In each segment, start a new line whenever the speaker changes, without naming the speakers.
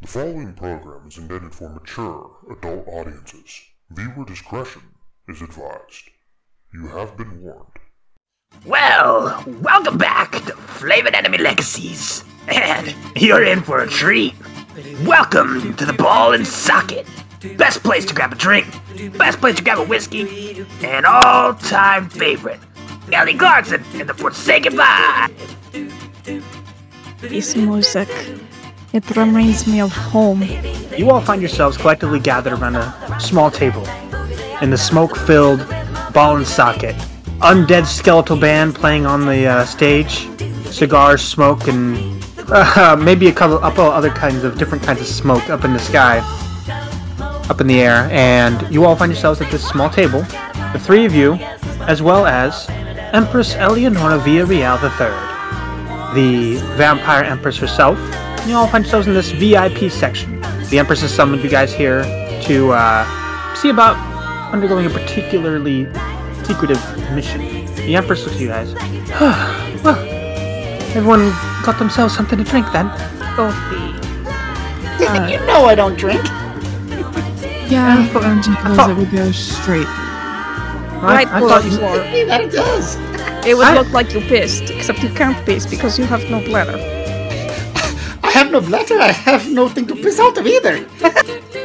The following program is intended for mature adult audiences. Viewer discretion is advised. You have been warned.
Well, welcome back to Flavin' Enemy Legacies. And you're in for a treat. Welcome to the Ball and Socket. Best place to grab a drink, best place to grab a whiskey, and all time favorite, Ellie Clarkson and the Forsaken Vine.
This music. It reminds me of home.
You all find yourselves collectively gathered around a small table in the smoke filled ball and socket. Undead skeletal band playing on the uh, stage, cigars, smoke, and uh, maybe a couple, couple other kinds of different kinds of smoke up in the sky, up in the air. And you all find yourselves at this small table, the three of you, as well as Empress Eleonora Villarreal III the vampire empress herself. You all find yourselves in this VIP section. The empress has summoned you guys here to uh, see about undergoing a particularly secretive mission. The empress looks at you guys. well, everyone got themselves something to drink then.
you know I don't drink.
Yeah, and it goes, it would go straight.
I, I thought you
Hey, that does.
It would
I-
look like you pissed, except you can't piss because you have no bladder.
I have no bladder. I have nothing to piss out of either.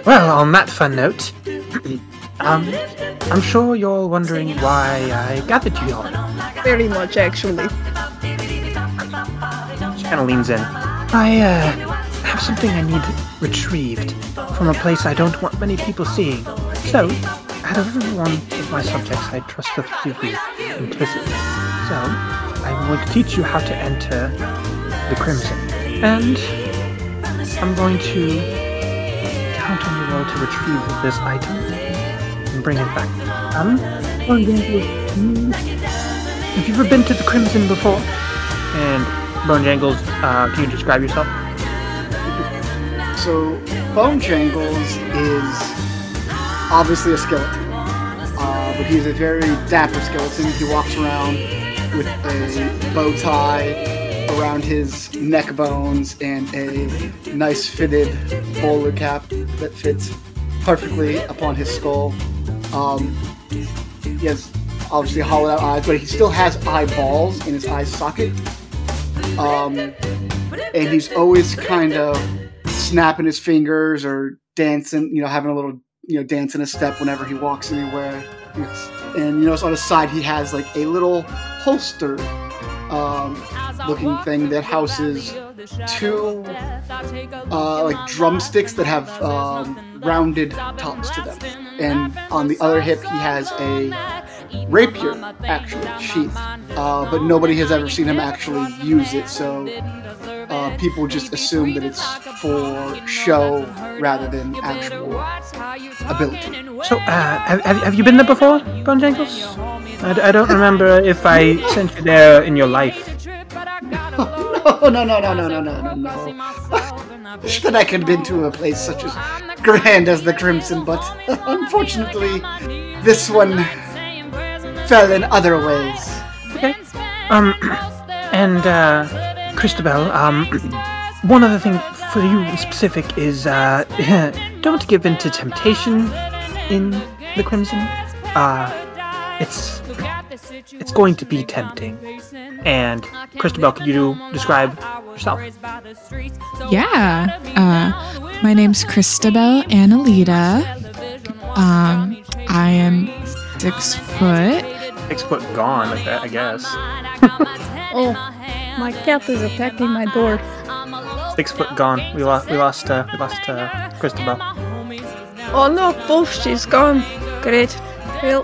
Well, on that fun note, um, I'm sure you're all wondering why I gathered you all.
Very much, actually.
She kind of leans in. I uh, have something I need retrieved from a place I don't want many people seeing. So, out of every one of my subjects, I trust the three of you implicitly. So, I'm going to teach you how to enter the Crimson, and I'm going to count on you all to retrieve this item and bring it back. Um, I'm going to. Have you ever been to the Crimson before? And Bone Jangles, uh, can you describe yourself?
So, Bone Jangles is obviously a skeleton, uh, but he's a very dapper skeleton. He walks around with a bow tie around his neck bones and a nice fitted bowler cap that fits perfectly upon his skull. Um, he has obviously hollowed out eyes, but he still has eyeballs in his eye socket. Um, and he's always kind of snapping his fingers or dancing, you know, having a little, you know, dancing a step whenever he walks anywhere. It's- and you notice on his side he has like a little holster um, looking thing that houses two uh, like drumsticks that have um, rounded tops to them. And on the other hip, he has a rapier, actually, sheath. Uh, but nobody has ever seen him actually use it, so uh, people just assume that it's for show rather than actual ability.
So, uh, have, have, have you been there before, Bone Jangles? I, d- I don't remember if I sent you there in your life.
Oh, no, no, no, no, no, no, no, no. that I could have been to a place such as grand as the Crimson, but unfortunately, this one fell in other ways.
Okay. Um, and, uh, Christabel, um, one other thing for you in specific is, uh, don't give in to temptation in the Crimson. Uh, it's, it's going to be tempting. And, Christabel, could you describe yourself?
Yeah. Uh, my name's Christabel Annalita. Um, I am six foot.
Six foot gone, like that, I guess.
Oh, my cat is attacking my door.
Six foot gone. We lost. We lost. Uh, we lost uh, Christabel.
Oh no, poof, she's gone. Great. Well,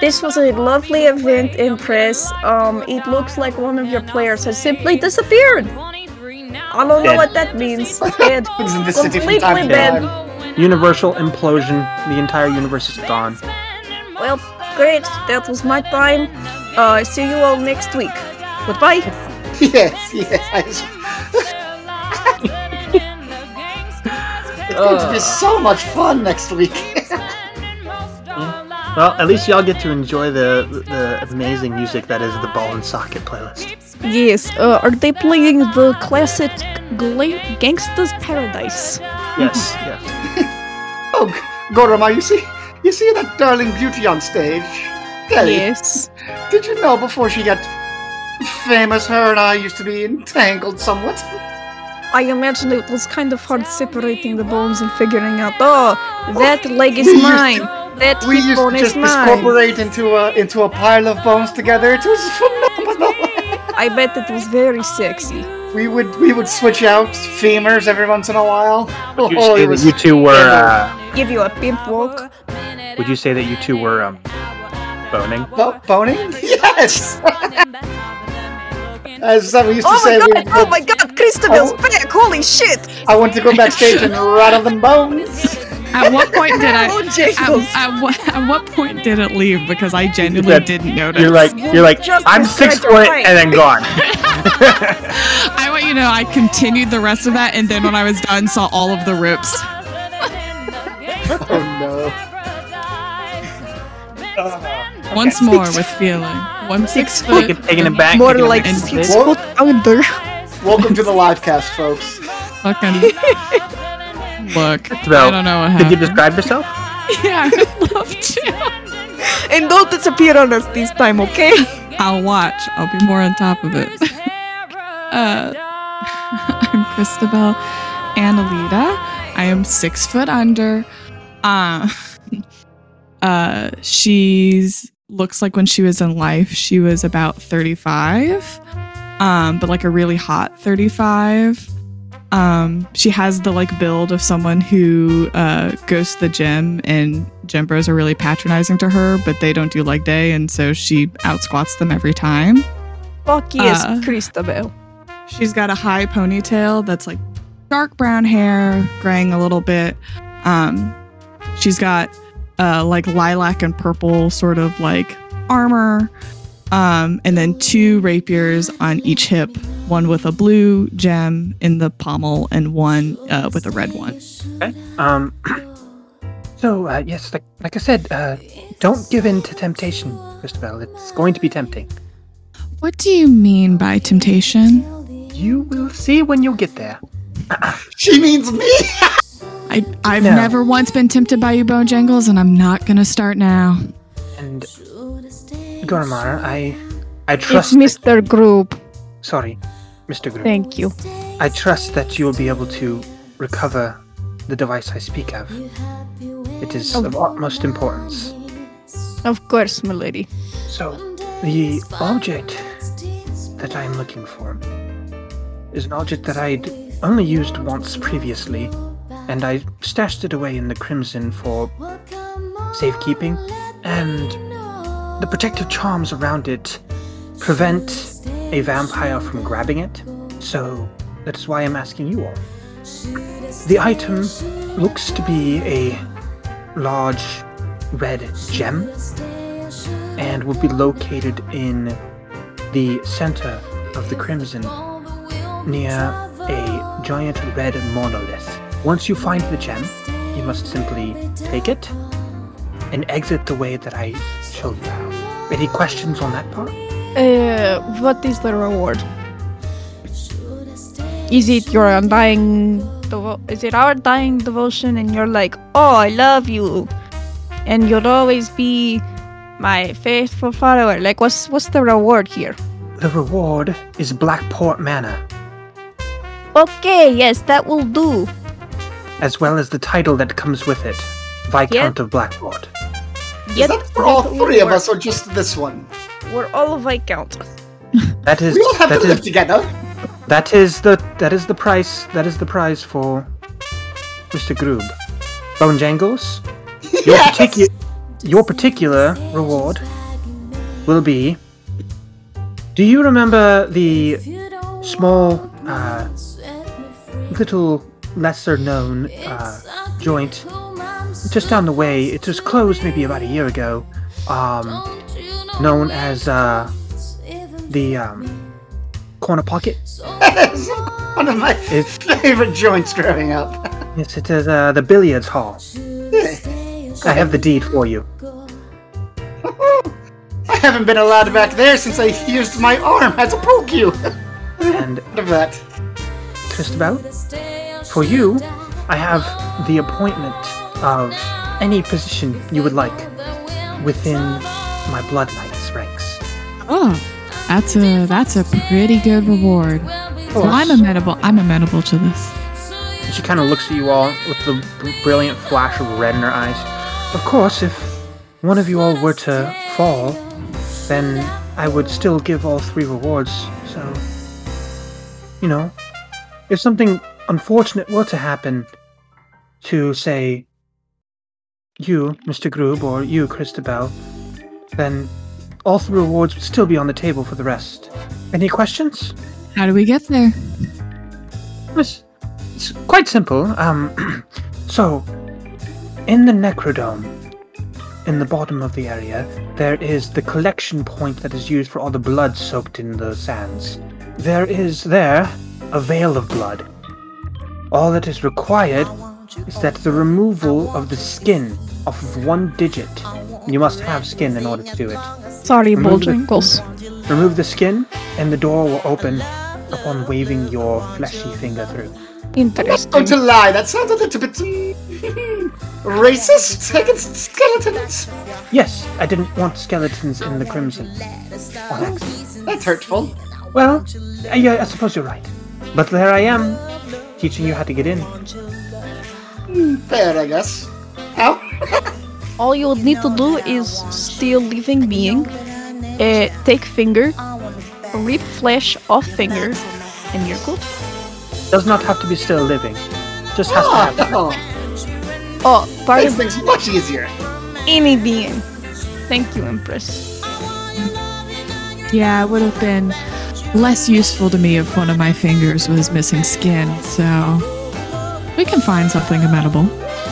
this was a lovely event, Empress. Um, it looks like one of your players has simply disappeared. I don't know
Dead.
what that means. Dead.
It's in the city from
Completely
time to
dead.
time.
Universal implosion. The entire universe is gone.
Well, great. That was my time. Uh, see you all next week. Goodbye.
Yes, yes. I, it's going to be so much fun next week.
Well, at least y'all get to enjoy the the amazing music that is the Ball and Socket playlist.
Yes. Uh, are they playing the classic gla- Gangsta's Paradise?
Yes, yes.
Oh, G- Goroma, you see, you see that darling beauty on stage? Kelly,
Yes.
did you know before she got famous, her and I used to be entangled somewhat?
I imagine it was kind of hard separating the bones and figuring out, oh, that leg is
We used
mine. That
We
hip
used
bone
to
is
just
mine.
discorporate into a into a pile of bones together. It was phenomenal.
I bet it was very sexy.
we would we would switch out femurs every once in a while. Oh,
Would you say
it
that
was
you two were? Uh,
Give you a pimp walk.
would you say that you two were um, boning?
bo- boning. Yes. As we used to
Oh
say,
my
we
god!
would-
Oh my god! Christabel's back! Holy shit!
I want to go backstage and rattle them bones.
At what point did I?
Oh,
At,
Jingles!
at, what, at what point did it leave? Because I genuinely
That-
didn't notice.
You're like, you're like,
Just
I'm
described
six
your
foot
height.
and then gone.
I want you to know I continued the rest of that, and then when I was done, saw all of the rips.
Oh no.
Once more with feeling. One six foot.
Taking- taking it back,
More
taking it
like
back.
six
What?
foot under.
Welcome to the live cast, folks.
Fucking look.
Well,
I don't know what
Could you
happened.
describe yourself?
yeah, I would love to.
And don't disappear on us this time, okay?
I'll watch. I'll be more on top of it. Uh, I'm Christabel Annalita. I am six foot under. Uh, uh, she's looks like when she was in life, she was about 35, um, but like a really hot 35. Um, she has the like build of someone who uh, goes to the gym, and gym bros are really patronizing to her, but they don't do leg day, and so she outsquats them every time.
Fuck yes,
Uh.
Christabel.
She's got a high ponytail that's like dark brown hair, graying a little bit. Um, she's got uh, like lilac and purple sort of like armor, um, and then two rapiers on each hip, one with a blue gem in the pommel and one uh, with a red one.
Um. So uh, yes, like like I said, uh, don't give in to temptation, Christabel. It's going to be tempting.
What do you mean by temptation?
You will see when you get there.
She means me.
I, I've
No.
never once been tempted by you, Bojangles, and I'm not gonna start now.
And Gormar, I I
It's
trust.
Mr. Group.
Sorry, Mr. Groom.
Thank you.
I trust that you will be able to recover the device I speak of. It is of utmost importance.
Of course, milady.
So, the object that I am looking for is an object that I'd only used once previously, and I stashed it away in the Crimson for safekeeping, and the protective charms around it prevent a vampire from grabbing it, so that is why I'm asking you all. The item looks to be a large red gem and will be located in the center of the Crimson, near a giant red monolith. Once you find the gem, you must simply take it and exit the way that I showed you how. Any questions on that part?
Uh, what is the reward? Is it your undying devo- is it our dying devotion and you're like, "Oh, I love you." And you'll always be my faithful follower. Like what's what's the reward here?
The reward is Blackport Manor,
Okay, yes, that will do.
as well as the title that comes with it Viscount of Blackport.
Is that for all three of us, or just this one?
We're all Viscount.
That is
We all have
that
to
is
live together.
That is the that is the price that is the prize for Mr. Groob. Bone Jangles, your,
Yes.
particu- your particular reward will be. Do you remember the small, uh, little lesser known uh, joint just down the way? It was closed maybe about a year ago, um, known as uh, the um, corner pocket.
One of my
It's-
favorite joints growing up.
Yes, it is uh, the billiards hall. I have the deed for you.
I haven't been allowed back there since I used my arm as a poke you.
And
of that.
just about for you, I have the appointment of any position you would like within my Blood Knights ranks.
Oh, that's a that's a pretty good reward. Well, I'm amenable. I'm amenable to this.
And She kind of looks at you all with the br- brilliant flash of red in her eyes. Of course, if one of you all were to fall, then I would still give all three rewards. So, you know, if something unfortunate were to happen to, say, you, Mr. Groob, or you, Christabel, then all three rewards would still be on the table for the rest. Any questions?
How do we get there?
It's, it's quite simple. Um, so, in the Necrodome, in the bottom of the area, there is the collection point that is used for all the blood soaked in the sands. There is there a veil of blood. All that is required is that the removal of the skin off of one digit. You must have skin in order to do it.
Sorry,
Remove the-
Bulgingles.
Remove the skin, and the door will open upon waving your fleshy finger through.
I'm going to
Interesting.
lie, that sounds a little bit mm, racist against skeletons.
Yes, I didn't want skeletons in the crimson.
That's hurtful.
Well, I, yeah, I suppose you're right. But there I am, teaching you how to get in.
Hmm, Fair, I guess. Ow.
All you would need to do is steal living being, uh, take finger, rip flesh off finger, and you're good.
Does not have to be still living. Just has to happen.
Oh,
Oh, part
makes
of
things much easier.
any being. Thank you, Empress.
Yeah, it would have been less useful to me if one of my fingers was missing skin. So we can find something amenable.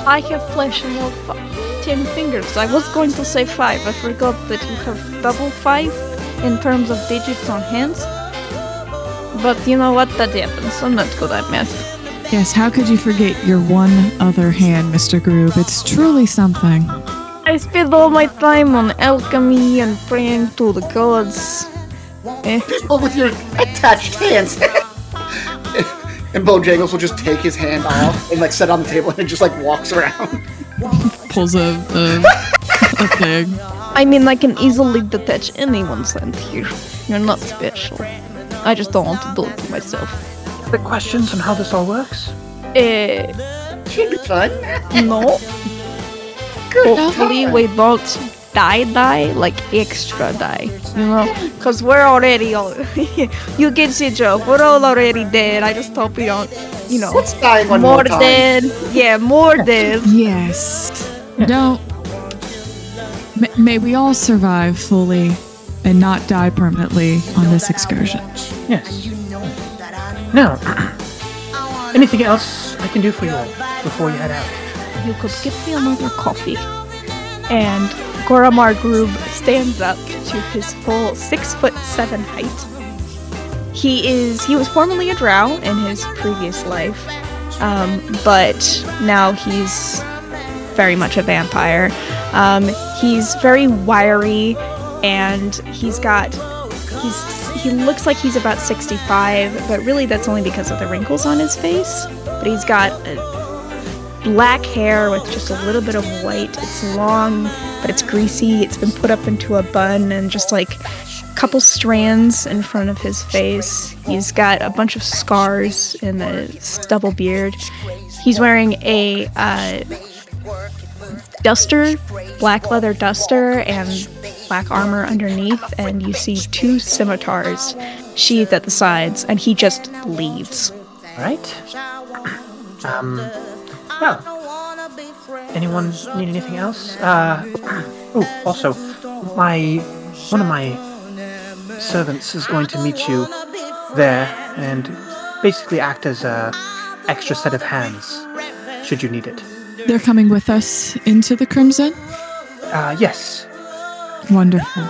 I have flesh and all fi- ten fingers. I was going to say five. I forgot that you have double five in terms of digits on hands. But you know what? That happens. I'm not good at math.
Yes, how could you forget your one other hand, Mr. Groob? It's truly something.
I spend all my time on alchemy and praying to the gods. Eh,
People with your attached hands. and Bojangles will just take his hand off and like sit on the table and just like walks around.
Pulls a a, a pig.
I mean, I can easily detach anyone's hand here. You're not special. I just don't want to do it to myself.
The questions on how this all works?
Eh,
Should be fun.
no.
Good
Hopefully,
time.
we don't die, die, like extra die. You know? Because we're already all. you get the joke. We're all already dead. I just hope we don't, you know.
Let's die one more,
More
time.
dead. Yeah, more dead.
Yes. Don't. May- May we all survive fully and not die permanently on this excursion.
Yes. Now, anything else I can do for you all before you head out?
you could get me another coffee. And Goramar Groob stands up to his full six foot seven height. He is he was formerly a drow in his previous life, um, but now he's very much a vampire. Um, he's very wiry, and he's got he's he looks like he's about 65, but really that's only because of the wrinkles on his face. But he's got a black hair with just a little bit of white. It's long, but it's greasy. It's been put up into a bun and just like a couple strands in front of his face. He's got a bunch of scars and a stubble beard. He's wearing a uh, duster, black leather duster, and black armor underneath, and you see two scimitars sheathed at the sides, and he just leaves.
Alright? Um, well, anyone need anything else? Uh, oh, also, my, one of my servants is going to meet you there and basically act as a extra set of hands should you need it.
They're coming with us into the Crimson.
Uh, yes,
Wonderful.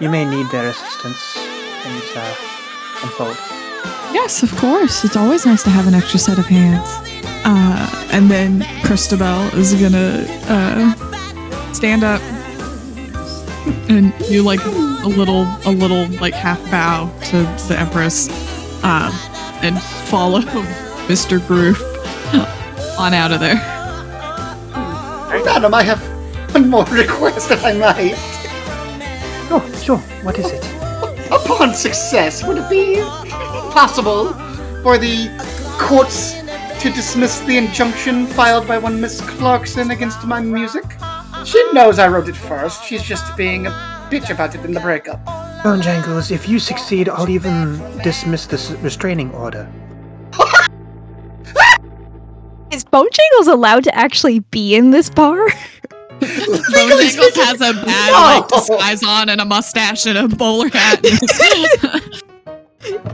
you may need their assistance. Things uh, unfold.
Yes, of course. It's always nice to have an extra set of hands. Uh, and then Christabel is gonna uh, stand up, and you like a little a little like half bow to the empress um, and follow mr groove on out of there
Madam, I have one more request if I might.
Oh, sure. What is it?
Upon success, would it be possible for the courts to dismiss the injunction filed by one Miss Clarkson against my music? She knows I wrote it first. She's just being a bitch about it in the breakup.
Bone Jangles, if you succeed, I'll even dismiss this restraining order.
Is Bojangles allowed to actually be in this bar?
Bojangles has a bad like
No.
disguise on and a mustache and a bowler hat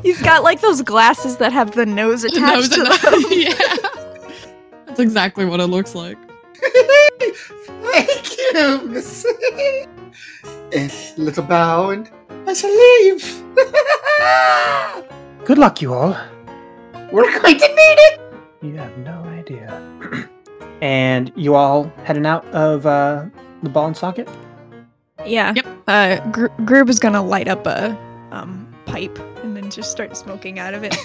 He's got like those glasses that have the nose attached
Nose
to
and
them.
yeah that's exactly what it looks like
Thank you, Miss. and little bow, and I shall leave.
Good luck, you all.
We're going to need it.
You have no idea. and you all heading out of uh, the ball and socket?
Yeah.
Yep.
Uh, Gr- Groob is gonna light up a um pipe and then just start smoking out of it.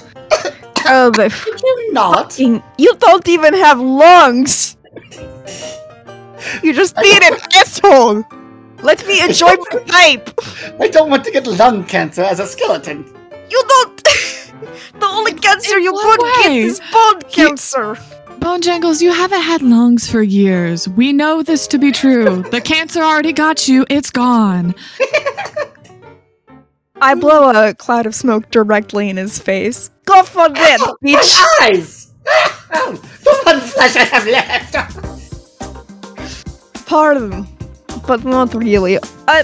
oh, but
Could you not?
fucking! You don't even have lungs. You're just being an asshole. Let me enjoy my pipe.
I don't want to get lung cancer as a skeleton.
You don't. the only cancer you
what
could get
way?
is bone
You-
cancer.
Bone Jangles, you haven't had lungs for years. We know this to be true. The cancer already got you. It's gone.
I blow a cloud of smoke directly in his face. Go for that, bitch.
My eyes! Oh, the one flesh I have left.
Pardon, but not really. I.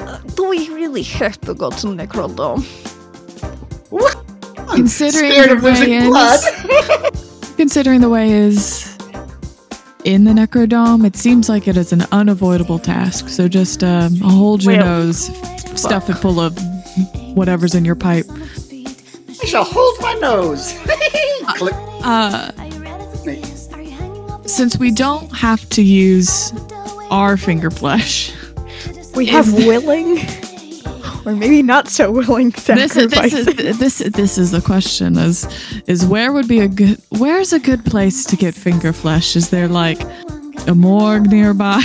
Uh, Do we really have to go to Necrodome?
What?
Considering
Scared
the
of losing
way it
blood.
Considering the way is in the Necrodome, it seems like it is an unavoidable task. So just um, hold your
Well,
nose, stuff it full of whatever's in your pipe.
I shall hold my nose. Click.
Uh, since we don't have to use our finger flesh,
We have willing, or maybe not so willing
this is this is
sacrifices.
this this is the question is is where would be a good where's a good place to get finger flesh is there like a morgue nearby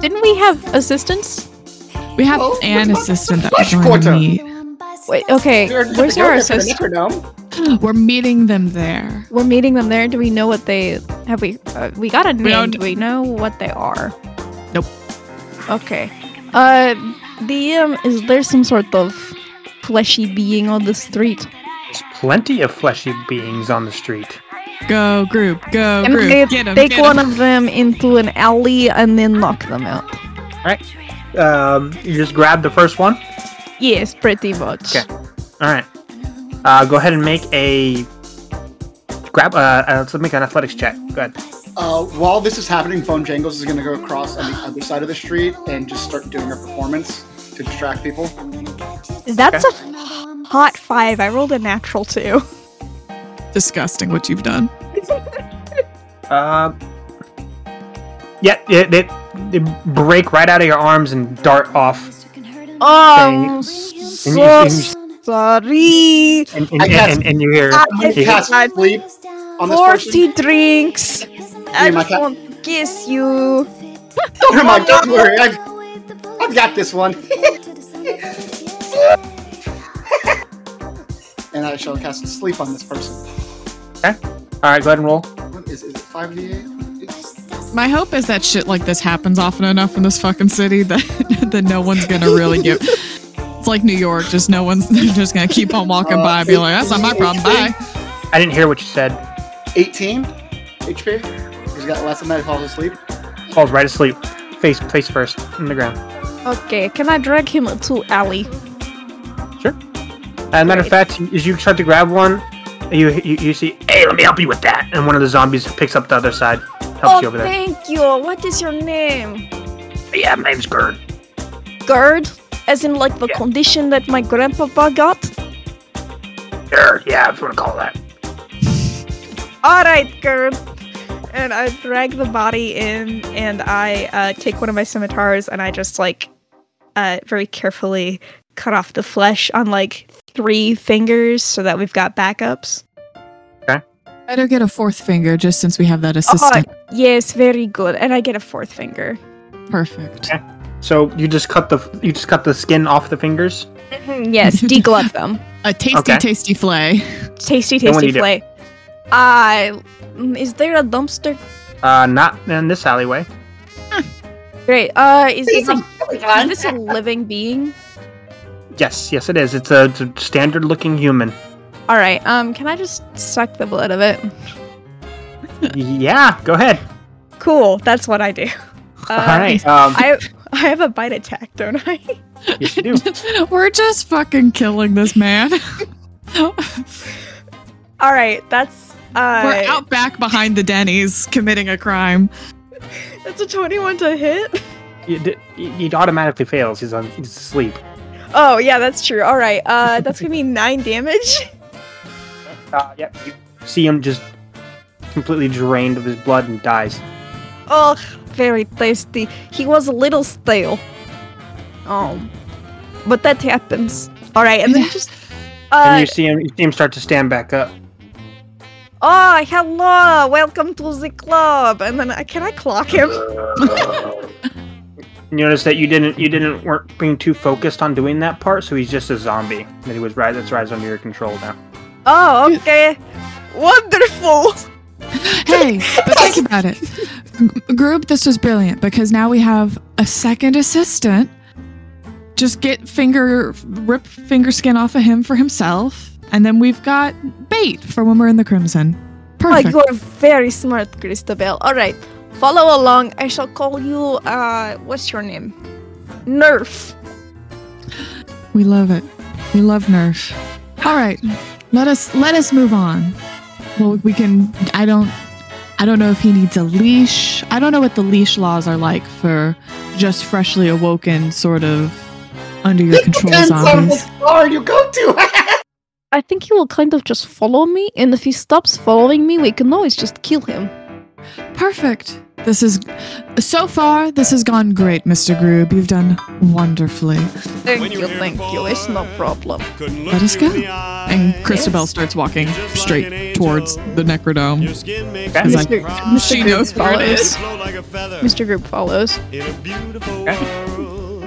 Didn't we have assistance?
we have
Oh, what's
an
my-
assistant that
flesh
we're going to
quarter?
meet
Wait, okay.
You're not
Where's
the
our
owner for the
assistant?
Necronome.
we're meeting them there
We're meeting them there. Do we know what they have? We uh, we got a name.
don't-
Do we know what they are?
Nope.
Okay. Uh, the um, is there some sort of fleshy being on the street?
There's plenty of fleshy beings on the street.
go group go
And
group
they
get them
take one of them into an alley and then knock them out.
Alright. Um, you just grab the first one?
Yes, pretty much.
Okay. Alright. Uh, go ahead and make a. Grab. Uh, uh, let's make an athletics check. Go ahead.
Uh, while this is happening, Bone Jangles is going to go across on the other side of the street and just start doing her performance to distract people.
That's a hot five. I rolled a natural two.
disgusting what you've done
Um. yeah, they, they, they break right out of your arms and dart off.
Oh,
And you,
so
and, you-
sorry.
and, and,
I guess-
and, and you hear.
I cast sleep on this person.
Forty drinks. I
Yeah, my
just
cat-
want to kiss you.
Never mind, don't worry. I've, I've got this one. and I shall cast sleep on this person.
Alright, go ahead and roll.
What is, is it 5d8? It's-
my hope is that shit like this happens often enough in this fucking city that that no one's gonna really give it's like new york just no one's they're just gonna keep on walking
Uh,
by and be like that's not my problem bye
I didn't hear what you said.
18 HP? He's got less than that, he falls asleep.
falls right asleep, face face first in the ground.
Okay, can I drag him to alley?
As a matter of fact, as you start to grab one, you you, you see, hey, let me help you with that, and one of the zombies picks up the other side, helps
oh,
you over there.
thank you. What is your name?
Yeah, my name's Gerd.
GERD? As in, like, the condition that my grandpapa got?
Gerd, yeah, if you want to call it that.
Alright, GERD. and I drag the body in, and I uh, take one of my scimitars, and I just like uh, very carefully cut off the flesh on like three fingers, so that we've got backups.
Better get a fourth finger just since we have that assistant.
Oh, Yes, very good. And I get a fourth finger.
Perfect.
So you just cut the you just cut the skin off the fingers.
Mm, yes, deglut them.
A tasty,
Okay.
tasty flay.
Tasty,
Then what
tasty
do you do?
flay. I mm, is there a dumpster?
Uh, not in this alleyway.
Great. Uh, is this a, is this a living being?
Yes, yes, it is. It's a, it's a standard-looking human.
All right. Um, can I just suck the blood of it?
yeah, go ahead.
Cool. That's what I do. Uh,
All right. Um,
I I have a bite attack, don't I?
yes, you do.
We're just fucking killing this man.
All right. That's uh.
We're out back behind the Denny's committing a crime.
That's a twenty-one to hit.
You d- He automatically fails. He's on. He's asleep.
Oh yeah, that's true. All right. Uh, that's gonna be nine damage.
Uh, yep. You see him just completely drained of his blood and dies.
Oh, very tasty. He was a little stale. Um, but that happens. All right, and then just
and
uh
you see him. You see him start to stand back up.
oh hello, welcome to the club. And then I can I clock him?
You notice that you didn't. You didn't weren't being too focused on doing that part. So he's just a zombie. That he was right. That's right under your control now.
Oh okay, wonderful.
Hey, but think about it. G- Group, this was brilliant because now we have a second assistant. Just get finger, rip finger skin off of him for himself. And then we've got bait for when we're in the Crimson. Perfect.
Oh, you're very smart, Christabel. All right, follow along. I shall call you. Uh, what's your name? Nerf.
We love it. We love Nerf. All right, let us let us move on. Well, we can. I don't. I don't know if he needs a leash. I don't know what the leash laws are like for just freshly awoken, sort of under your control
Depends on
zombies.
what bar you go to.
I think he will kind of just follow me, and if he stops following me, we can always just kill him.
Perfect. This is so far. This has gone great, Mr. Groob. You've done wonderfully.
Thank you, thank you. It's no problem.
Let us go. And Christabel starts walking straight towards the Necrodome.
Okay.
Like, she knows where it is.
Mr. Group follows.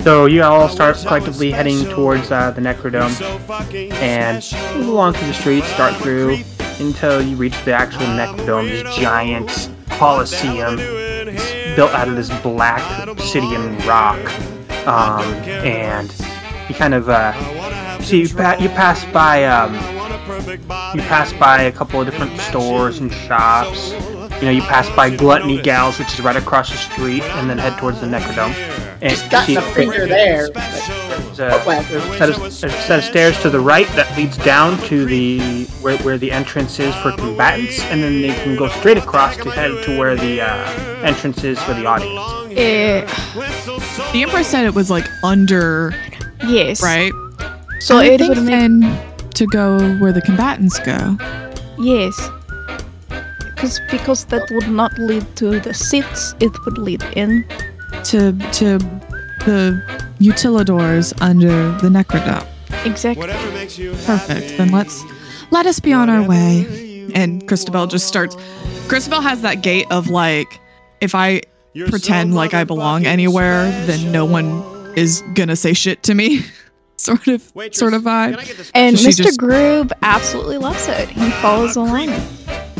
So you all start collectively heading towards uh, the Necrodome and move along through the streets, start through until you reach the actual Necrodome, this giant coliseum It's built out of this black obsidian rock. Um, and you kind of uh, see you, pa- you pass by um, you pass by a couple of different stores and shops. You know, you pass by Gluttony Gals, which is right across the street, and then head towards the Necrodome. And
Just gotten a finger there. but-
there's a,
Well.
there's a set of, there's a set of stairs to the right that leads down to the where, where the entrance is for combatants, and then they can go straight across to head to where the uh, entrance is for the audience.
Eh,
The Emperor said it was like under,
yes.
right?
So
I
it
think
would make
then to go where the combatants go.
yes. Because because that would not lead to the seats, it would lead in.
to to the utilidors under the necrodome.
Exactly.
Perfect. Then let's let us be on our way. And Christabel just starts. Christabel has that gait of like, if I pretend like I belong anywhere, then no one is gonna say shit to me. sort of, sort of vibe.
And
She
Mr.
just-
Groob absolutely loves it. He follows along.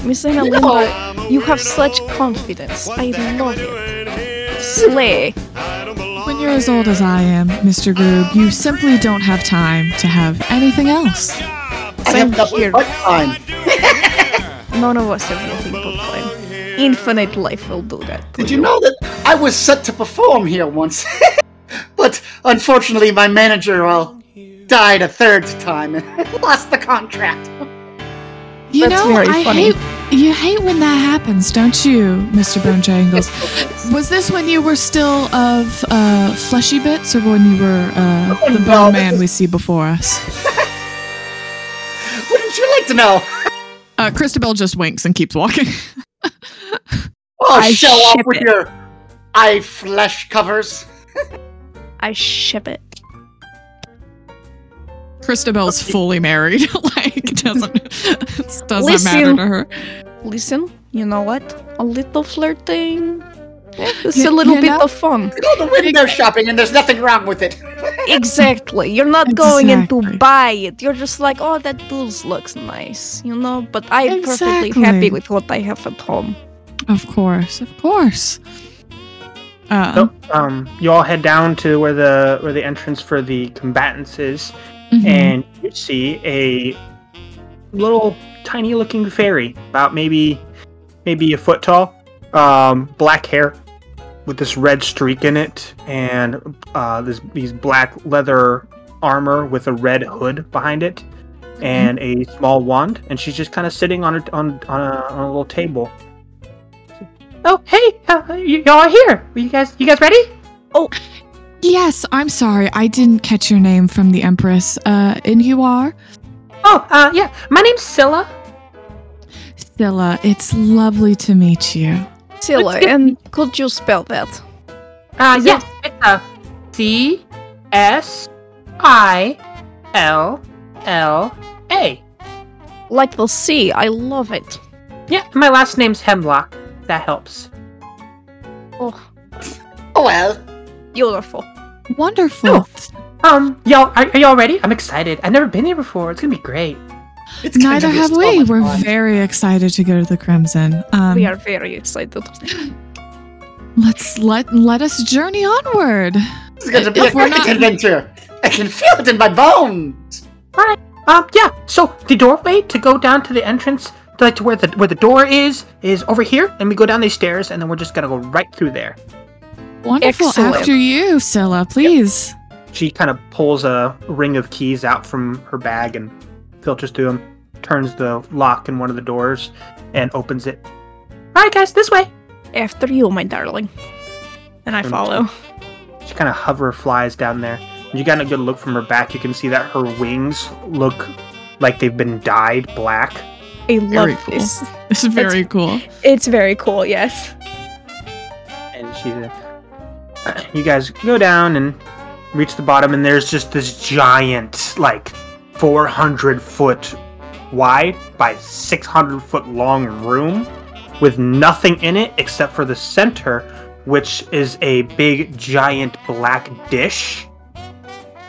Miss Analinda, you have such confidence. I love it. Slay.
When you're as old as I am, Mr. Groob, you simply don't have time to have anything else.
I have nothing but time.
None of us have nothing but time. Infinite life will do that.
Did you know that I was set to perform here once? but unfortunately, my manager well, died a third time and lost the contract.
You
That's
know,
very
I
funny.
hate you hate when that happens, don't you, Mr. Bone Triangles? Was this when you were still of uh, fleshy bits, or when you were uh,
Oh,
the
no,
bone
this
man
is-
we see before us?
Wouldn't you like to know?
Uh, Christabel just winks and keeps walking.
Oh,
I
show off
ship
with
it.
your eye flesh covers.
I ship it.
Christabel's fully married. like doesn't it doesn't matter
Listen.
to her.
Listen, you know what? A little flirting. Yeah, it's
You-
a little
you
bit
know-
of fun.
Go to window shopping and there's nothing wrong with it.
Exactly. You're not going in to
Exactly.
buy it. You're just like, oh, that blouse looks nice, you know. But I'm perfectly
Exactly.
happy with what I have at home.
Of course, of course. Uh,
So, um, you all head down to where the where the entrance for the combatants is,
mhm.
and you see a little tiny looking fairy, about maybe maybe a foot tall, um, black hair with this red streak in it, and uh, this these black leather armor with a red hood behind it, and a small wand, and she's just kind of sitting on a, on on a, on a little table. Oh hey, uh, y- y'all are here. You guys, you guys ready?
yes, I'm sorry, I didn't catch your name from the Empress. Uh, and you are
Oh uh, yeah, my name's Scylla.
Stella. It's lovely to meet you.
Silla, and could you spell that?
Uh,
Is
yes, it's a C S I L L A.
Like the sea. I love it.
Yeah, my last name's Hemlock. That helps.
Oh,
Oh well.
beautiful.
Wonderful.
Um, y'all, are, are y'all ready? I'm excited. I've never been here before. It's gonna be great.
It's gonna
Neither
be
have
so
we.
much
We're
fun.
very excited to go to the Crimson. Um,
we are very excited.
Let's let let us journey onward.
This is going to be a
If we're
great
not-
adventure. I can feel it in my bones.
Um, yeah. So the doorway to go down to the entrance, to like to where the where the door is, is over here, and we go down these stairs, and then we're just gonna go right through there.
Wonderful.
Excellent.
After you, Stella, please.
She kind of pulls a ring of keys out from her bag and filters through them, turns the lock in one of the doors, and opens it. All right, guys, this way.
After you, my darling. And I
Mm.
follow.
She kind of hover flies down there. When you got a good look from her back, you can see that her wings look like they've been dyed black.
I
Very
love
cool.
this.
It's very cool.
It's very cool, yes.
And she, you guys go down and reach the bottom, and there's just this giant, like 400 foot wide by 600 foot long room with nothing in it except for the center, which is a big, giant black dish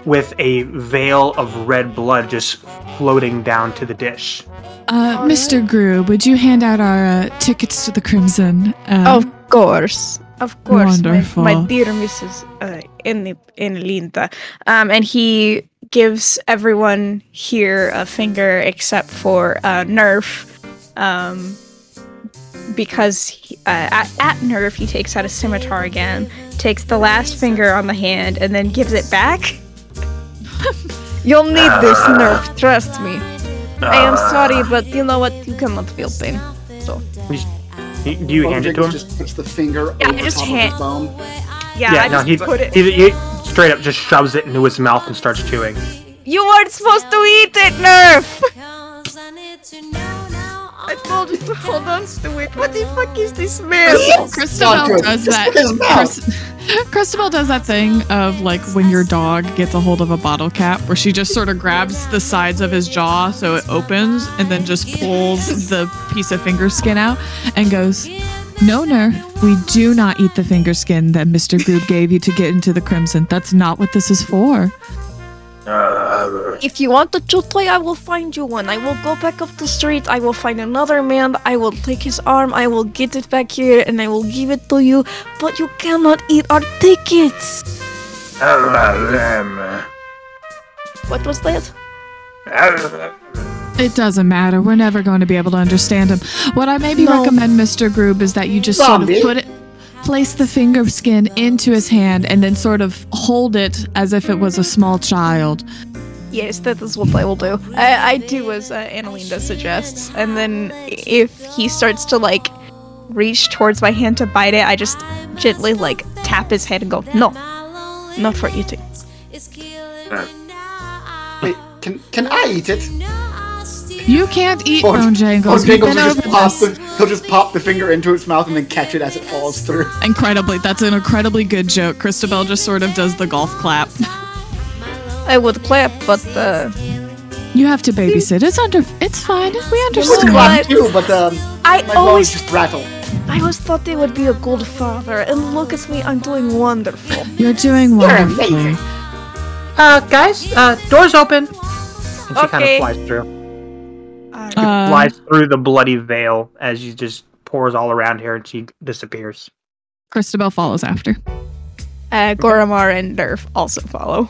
with a veil of red blood just floating down to the dish.
Uh, Mr. Grew, would you hand out our uh, tickets to the Crimson? Uh,
Of course. Of course, my,
Wonderful.
My dear Mrs. Uh, in Linda. Um, and he gives everyone here a finger except for uh, Nerf. Um, because he, uh, at, at Nerf, he takes out a scimitar again, takes the last finger on the hand, and then gives it back.
You'll need this nerve, trust me. I am sorry, but you know what? You cannot feel pain. So
You- Do you hand it to him?
Oh, Just puts the finger
Yeah, I
over
just
top
hand-
of the bone.
Yeah, I just
he,
put it.
he, he straight up just shoves it into his mouth and starts chewing.
you weren't supposed to eat it, Nerf. I told you to hold on to it. What the fuck is this man?
Not
Christabel
good.
does
Just
that.
put his mouth.
Chris- Christabel does that thing of like when your dog gets a hold of a bottle cap, where she just sort of grabs the sides of his jaw so it opens, and then just pulls the piece of finger skin out and goes, "No, Nerf, we do not eat the finger skin that Mister Groob gave you to get into the Crimson. That's not what this is for."
If you want a chew toy, I will find you one. I will go back up the street. I will find another man. I will take his arm. I will get it back here, and I will give it to you. But you cannot eat our tickets. What was that?
It doesn't matter. We're never going to be able to understand him. What I maybe
No.
recommend, Mr. Groob, is that you just
Zombie.
sort of put it, place the finger skin into his hand and then sort of hold it as if it was a small child.
Yes, that is what I will do. I, I do as uh, Annalinda suggests, and then if he starts to like reach towards my hand to bite it, I just gently like tap his head and go, "No, not for eating."
Wait, can can I eat it?
You can't eat
Or-
Bojangles.
or
We've
Jingles will
been
just
over
pop
this.
the, he'll just pop the finger into its mouth and then catch it as it falls through.
Incredibly, that's an incredibly good joke. Christabel just sort of does the golf clap.
I would clap, but uh,
You have to babysit. It's under. It's fine. We
It's
understand.
clap too, but um,
I
my
always-
bones just rattle.
I always thought they would be a good father. And look at me, I'm doing wonderful.
You're doing wonderfully.
Uh, guys, uh, door's open. And she kind of
Okay.
flies through.
Uh,
flies through the bloody veil as she just pours all around her and she disappears.
Christabel follows after.
Uh, Goramar and Nerf also follow.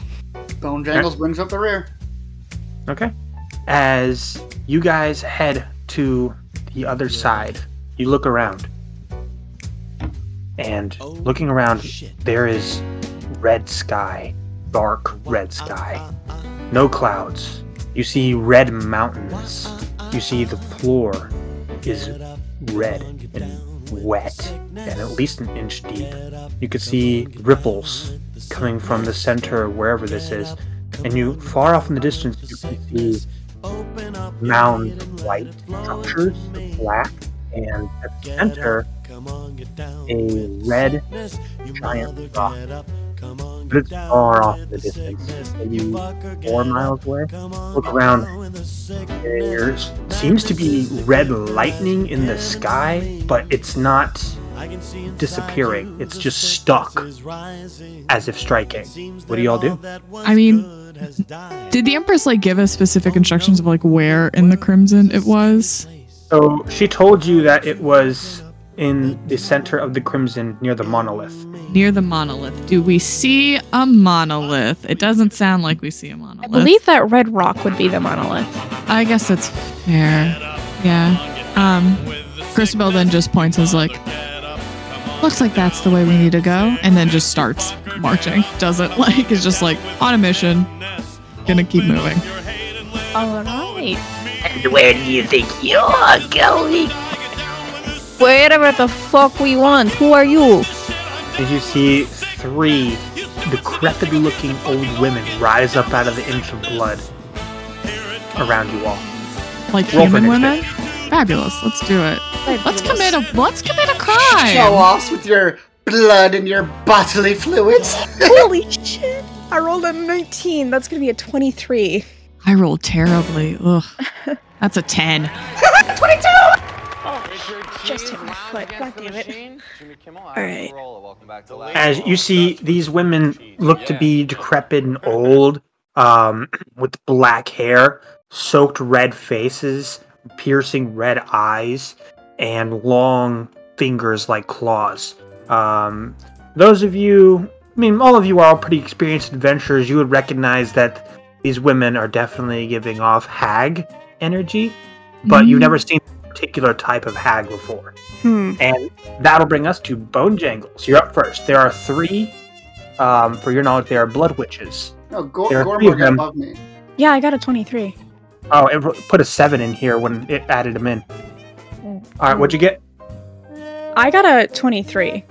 Bone Jangles brings up the rear.
Okay. As you guys head to the other side, you look around. And looking around, there is red sky, dark red sky. No clouds. You see red mountains. You see the floor is red and wet and at least an inch deep. You could see ripples coming from the center, wherever this is, and you far off in the distance you can see mound white structures of black and at the center a red giant rock but it's far off in the distance maybe four miles away look around there seems to be red lightning in the sky but it's not disappearing it's just stuck as if striking what do y'all do
I mean, did the Empress like give us specific instructions of like where in the Crimson it was?
So she told you that it was in the center of the crimson near the monolith.
Near the monolith. Do we see a monolith? It doesn't sound like we see a monolith.
I believe that red rock would be the monolith.
I guess that's fair. Yeah. Um, Christabel then just points and is like, looks like that's the way we need to go, and then just starts marching. Doesn't like, is just like on a mission. Gonna keep moving.
All right.
And where do you think you're going?
Wherever the fuck we want. Who are you?
As you see three decrepit looking old women rise up out of the inch of blood around you all.
Like
Roll for
human women.
initiative.
Fabulous. Let's do it. Let's commit a let's commit a
Show
crime.
offs with your blood and your bodily fluids.
Holy shit! I rolled a 19. That's gonna be a 23.
I rolled terribly. Ugh. That's a ten.
Just hit my foot. God damn it. Alright.
As you see these women look to be decrepit and old, um, with black hair, soaked red faces, piercing red eyes, and long fingers like claws. Um, those of you, I mean, all of you are all pretty experienced adventurers. You would recognize that these women are definitely giving off hag energy, but you've never seen a particular type of hag before.
Hmm.
And that'll bring us to Bone Jangles. You're up first. There are three, um, for your knowledge, they are Blood Witches.
No, Gor-
There are three of
Gormor got
them.
above me.
Yeah, I got a 23.
Oh, it wr- put a seven in here when it added them in. All right, what'd you get?
I got a 23.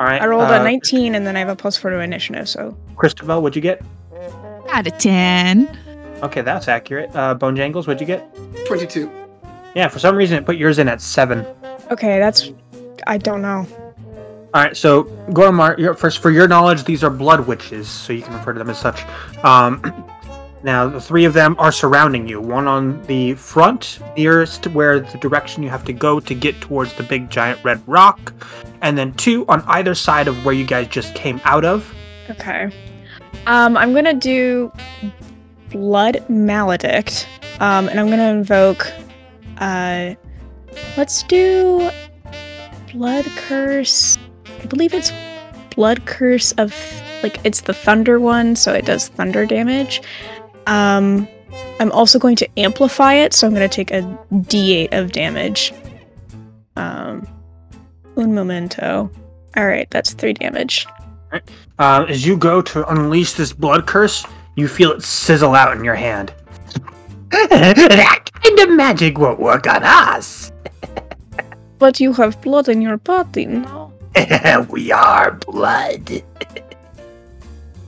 All right.
I rolled
uh,
a 19 and then I have a plus 4 to initiative, so.
Christabel, what'd you get?
Out of ten.
Okay, that's accurate. Uh, Bone Jangles, what'd you get?
Twenty-two.
Yeah, for some reason it put yours in at seven.
Okay, that's. I don't know.
All right, so Gormar, you're up first. For your knowledge, these are Blood Witches, so you can refer to them as such. Um, now, the three of them are surrounding you. One on the front, nearest where the direction you have to go to get towards the big giant red rock, and then two on either side of where you guys just came out of.
Okay. Um, I'm gonna do Blood Maledict. Um, and I'm gonna invoke uh let's do Blood Curse. I believe it's Blood Curse of like it's the thunder one, so it does thunder damage. Um I'm also going to amplify it, so I'm gonna take a D8 of damage. Um un momento. Alright, that's three damage.
Uh, as you go to unleash this blood curse, you feel it sizzle out in your hand. that kind of magic won't work on us.
But you have blood in your body now.
we are blood.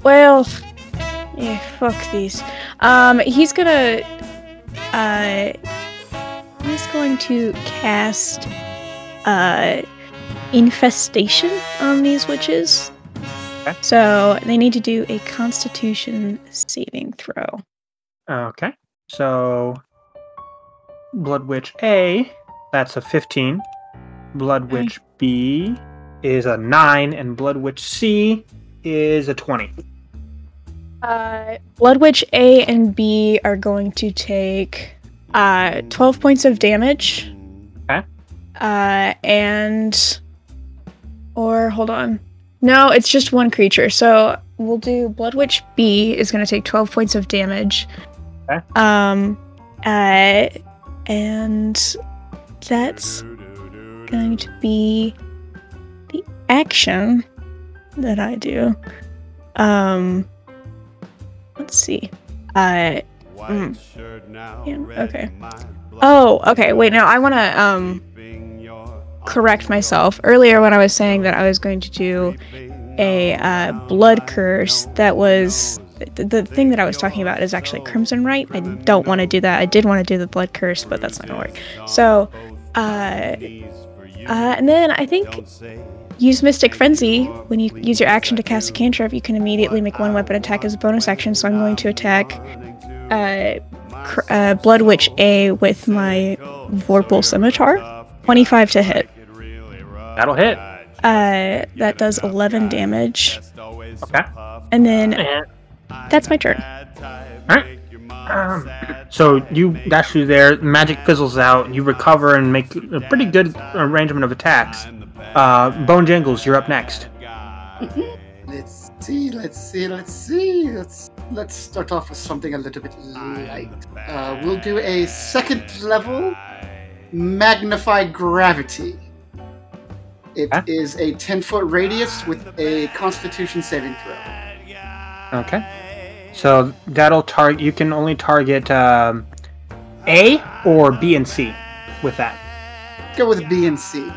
Well, yeah, fuck these. Um, he's gonna, uh, He's going to cast uh, infestation on these witches.
Okay.
So they need to do a Constitution saving throw.
Okay. So Blood Witch A, that's a 15. Blood
Okay.
Witch B is a 9 and Blood Witch C is a 20.
Uh, Blood Witch A and B are going to take uh, 12 points of damage.
Okay.
Uh, and. Or, hold on. No, it's just one creature. So we'll do Blood Witch B is going to take 12 points of damage.
Okay.
Um, uh, and that's going to be the action that I do. Um, let's see. Uh,
White shirt now.
Yeah,
red
okay.
in my blood,
oh, okay. Wait, no, I want to um
keeping your
correct myself. Earlier, when I was saying that I was going to do a uh, blood curse, that was the, the thing that I was talking about is actually Crimson Right. I don't want to do that. I did want to do the blood curse, but that's not gonna work. So, uh, uh, and then I think use Mystic Frenzy. When you use your action to cast a cantrip, you can immediately make one weapon attack as a bonus action. So I'm going to attack uh, cr- uh, Blood Witch A with my Vorpal Scimitar. 25 to hit.
That'll hit.
Uh, that does 11 damage.
Okay.
And then
And,
that's my turn.
alright. Um, so you dash through there, magic fizzles out, and you recover and make a pretty good arrangement of attacks. Uh, Bone Jangles, you're up next.
Let's see, let's see, let's see. Let's let's start off with something a little bit light. Uh, we'll do a second level magnify gravity. It
Huh?
is a ten foot radius with a Constitution saving throw.
Okay. So that'll target. You can only target um, A or B and C with that.
Go with B and C.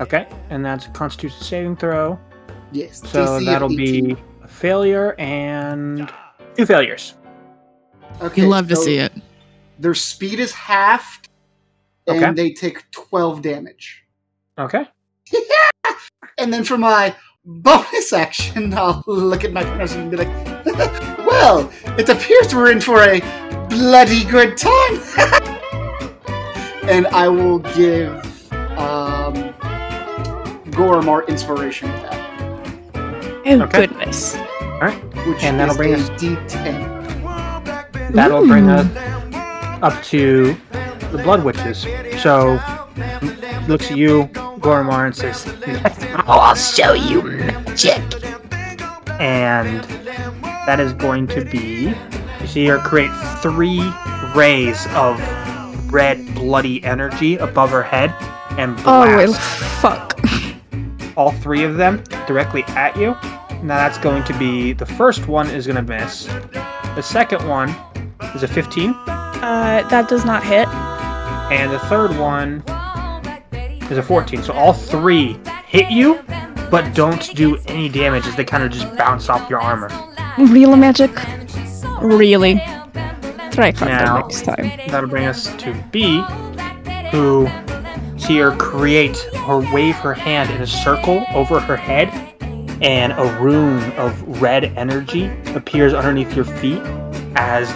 Okay. And that's a Constitution saving throw.
Yes.
So
DC of
that'll
18.
be a failure and two failures.
Okay,
You love to
so
see it.
Their speed is halved, and
Okay.
they take twelve damage.
Okay.
And then for my bonus action, I'll look at my partners and be like, well, it appears we're in for a bloody good time. and I will give um, Goromar inspiration with that,
Oh,
Okay.
goodness.
which
And that'll
is
bring
a
us-
D10.
That'll bring us up to the Blood Witches. So looks at you, Goromar, and says,
Oh, I'll show you magic.
and that is going to be you see her create three rays of red bloody energy above her head and
Oh, well,
blast
fuck.
all three of them directly at you now that's going to be the first one is going to miss the second one is a 15
Uh, that does not hit.
and the third one is a 14 so all three hit you but don't do any damage as they kind of just bounce off your armor
Real magic. Really. Try harder
Now-
next time.
That'll bring us to B, who see her create her wave her hand in a circle over her head, and a rune of red energy appears underneath your feet as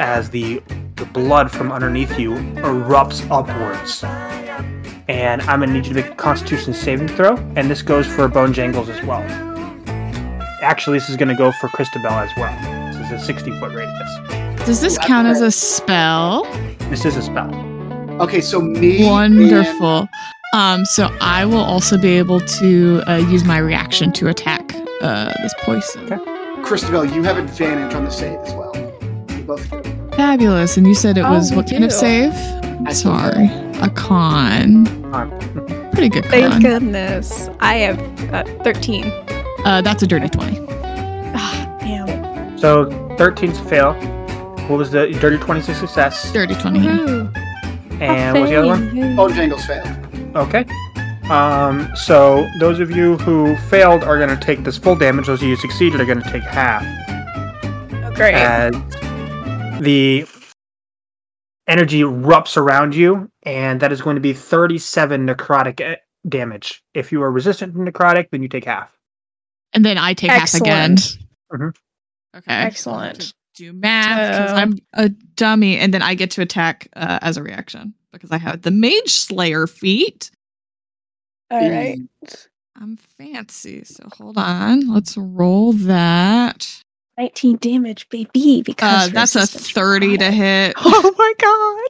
as the, the blood from underneath you erupts upwards. And I'm gonna need you to make a Constitution saving throw, and this goes for Bone Jangles as well. Actually, this is gonna go for Christabel as well. This is a 60 foot radius.
Does this count as a spell?
This is a spell.
Okay, so me. and-
Wonderful. Um, so I will also be able to uh, use my reaction to attack uh, this poison.
Christabel, you have advantage on the save as well. You both do.
Fabulous. And you said it
Oh,
was
we
what kind of
do.
save?
I-
Sorry, a con. Pretty good
Thank
con.
goodness. I have uh, 13.
Uh, that's a dirty twenty.
Damn.
So 13's a fail. What was the dirty 20's a success?
Dirty twenty.
Mm-hmm.
And what was the other one?
Oh,
Bone Jangles failed.
Okay. Um, so those of you who failed are going to take this full damage. Those of you who succeeded are going to take half.
Great.
As the energy erupts around you, and that is going to be 37 necrotic eh, damage. If you are resistant to necrotic, then you take half.
And then I take half again.
Excellent.
Okay.
Excellent. Oh.
Do math because
So-
I'm a dummy, and then I get to attack uh, as a reaction because I have the Mage Slayer feat.
All right.
I'm fancy, so hold on. Let's roll that.
19 damage, baby.
Uh,
Because
that's a
resistance.
30 to hit.
Oh my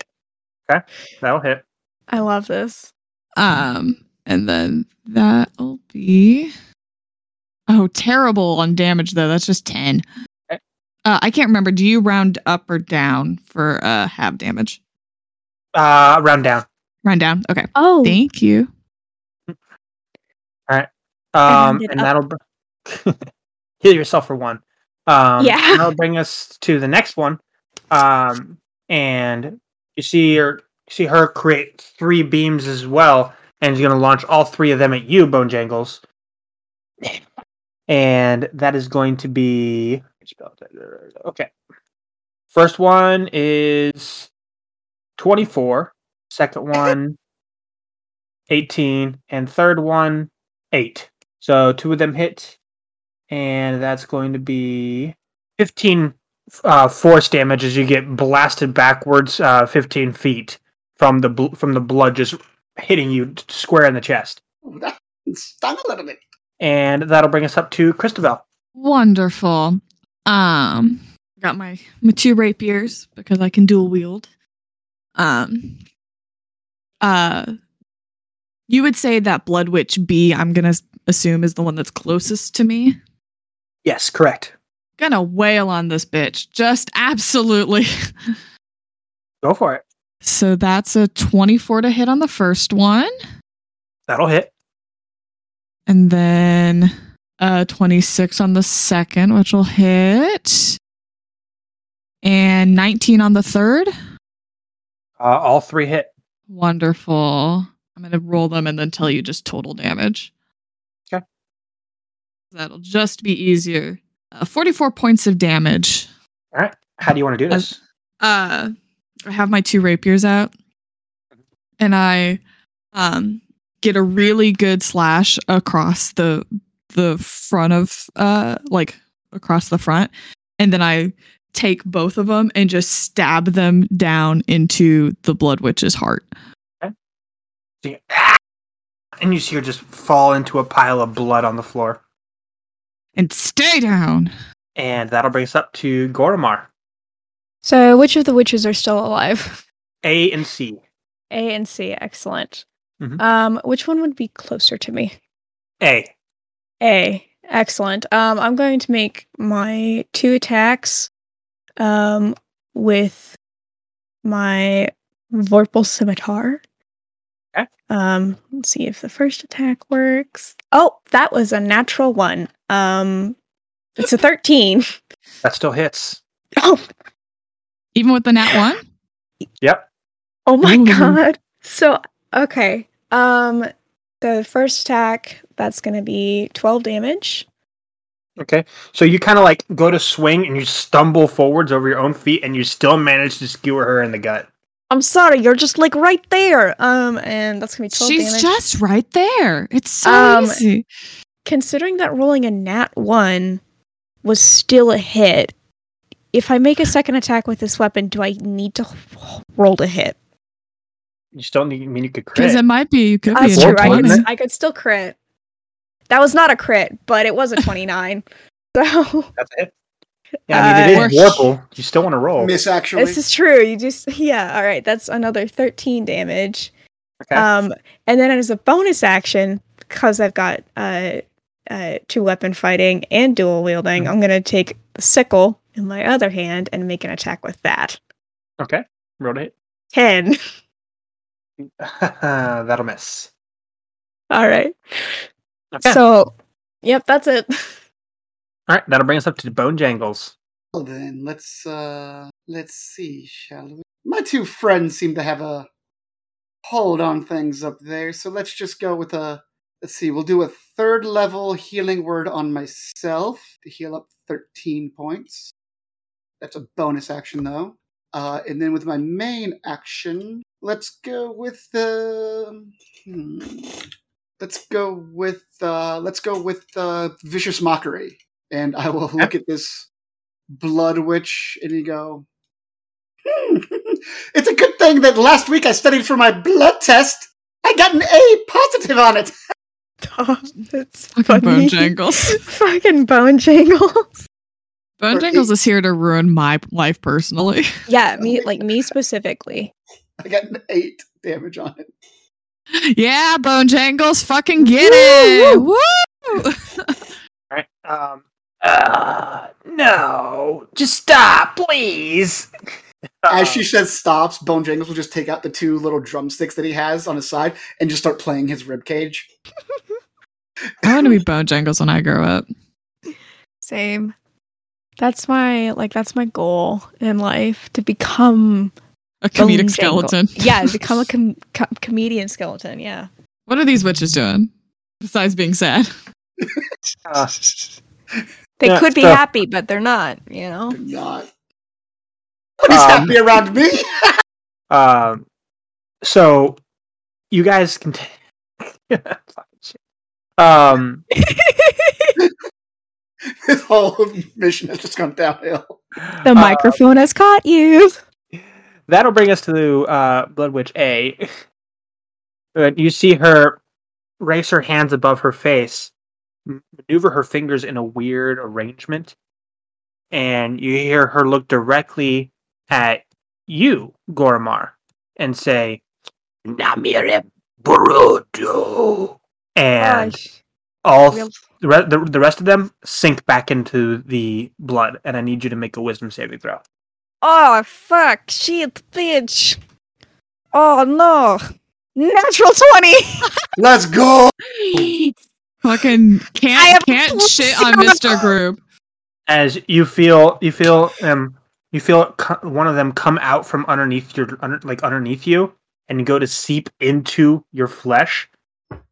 god.
That'll hit.
I love this.
Um, and then that'll be oh terrible on damage though. That's just ten.
Eh.
Okay.
Uh, I can't remember. Do you round up or down for uh half damage?
Uh, round down.
Round down. Okay.
Oh,
Thank you.
Um,
rounded
and
up.
that'll br- heal yourself for one. Um,
Yeah.
and That'll bring us to the next one. Um, and you see her, you see her create three beams as well, and she's going to launch all three of them at you, Bone Jangles. And that is going to be okay. First one is twenty-four. Second one, eighteen, and third one, eight. So two of them hit, and that's going to be 15 uh, force damage as you get blasted backwards uh, 15 feet from the bl- from the blood just hitting you t- square in the chest.
That stung a little bit.
And that'll bring us up to Christabel.
Wonderful. Um, got my my two rapiers because I can dual wield. Um, uh, you would say that Blood Witch B. I'm gonna s- assume is the one that's closest to me.
Yes, correct.
Gonna wail on this bitch, just absolutely.
Go for it.
so that's a 24 to hit on the first one,
That'll hit.
and then uh 26 on the second, which will hit, and 19 on the third.
Uh, all three hit.
Wonderful. I'm going to roll them and then tell you just total damage.
Okay.
That'll just be easier. Uh, 44 points of damage.
All right. How do you want to do this?
Uh, I have my two rapiers out and I um, get a really good slash across the the front of uh like across the front and then I take both of them and just stab them down into the blood witch's heart.
So you- ah! and you see her just fall into a pile of blood on the floor.
and stay down.
And that'll bring us up to Goromar.
So, which of the witches are still alive?
A and C.
A and C. Excellent.
Mhm.
Um, which one would be closer to me?
A.
A. Excellent. Um, I'm going to make my two attacks um, with my Vorpal Scimitar.
Okay.
Um, let's see if the first attack works. Oh, that was a natural one. Um, it's a 13.
That still hits.
Oh,
Even with the nat one?
Yep.
oh my
Ooh.
god. So, okay. Um, the first attack, that's going to be 12 damage.
Okay. So you kind of like go to swing and you stumble forwards over your own feet and you still manage to skewer her in the gut.
I'm sorry, you're just like right there. Um, and that's gonna be 12
She's
damage.
just right there. It's so
Um,
easy.
Considering that rolling a nat one was still a hit, if I make a second attack with this weapon, do I need to roll to hit?
You still need, I mean, you could crit.
Because it might be you could be
That's
a
Or
true.
nat
I
point,
could,
one.
isn't
I could still crit. That was not a crit, but it was a 29. so
That's it. Yeah, I mean,
Uh,
it is warple. You still want to roll.
Miss actually.
this is true. You just yeah. All right, that's another 13 damage.
Okay.
Um, and then as a bonus action, because I've got uh, uh, two weapon fighting and dual wielding, I'm going to take the sickle in my other hand and make an attack with that.
okay. Roll it.
10.
That'll miss.
All right.
Okay.
So, yep, that's it.
All right. That'll bring us up to Bone Jangles.
Well then, let's uh let's see, shall we? My two friends seem to have a hold on things up there, so let's just go with a let's see, we'll do a third level healing word on myself to heal up thirteen points. That's a bonus action though. Uh, and then with my main action, let's go with the. hmm, let's go with uh, let's go with uh, vicious mockery, and I will look at this blood witch, and you go. "Hmm, it's a good thing that last week I studied for my blood test. I got an A positive on it.
That's
Fucking
funny.
Bojangles.
Fucking bone jangles.
Bojangles is here to ruin my life personally.
Yeah, me like me specifically.
I got an eight damage on it.
yeah, Bojangles, fucking get it! Woo!
All right. Um,
Uh, no. Just stop, please.
As she says stops, Bone Jangles will just take out the two little drumsticks that he has on his side and just start playing his rib cage.
I want to be Bojangles when I grow up.
Same. That's my like that's my goal in life to become the
A comedic
Linjangle.
skeleton.
Yeah, become a com- co- comedian skeleton. Yeah.
What are these witches doing besides being sad?
uh,
They
Yeah,
could be
so-
happy, but they're not, you know.
God. Nobody's
Um,
happy around me.
Um, so you guys can. T- Fucking shit. Um,
this whole mission has just gone downhill.
Uh,
The microphone has caught you.
uh, that'll bring us to uh, Blood Witch A. Uh, you see her raise her hands above her face, m- maneuver her fingers in a weird arrangement, and you hear her look directly at you, Gorimar, and say,
Namire Boruto.
and
Gosh.
all
Real-
the, re- the, the rest of them sink back into the blood, and I need you to make a wisdom saving throw.
Oh fuck! Shit, bitch! Oh no! Natural twenty.
Let's go.
Fucking
I
can't
have
can't
a
shit on
zero.
Mr. Group.
As you feel, you feel um, you feel co- one of them come out from underneath your under, like underneath you, and go to seep into your flesh,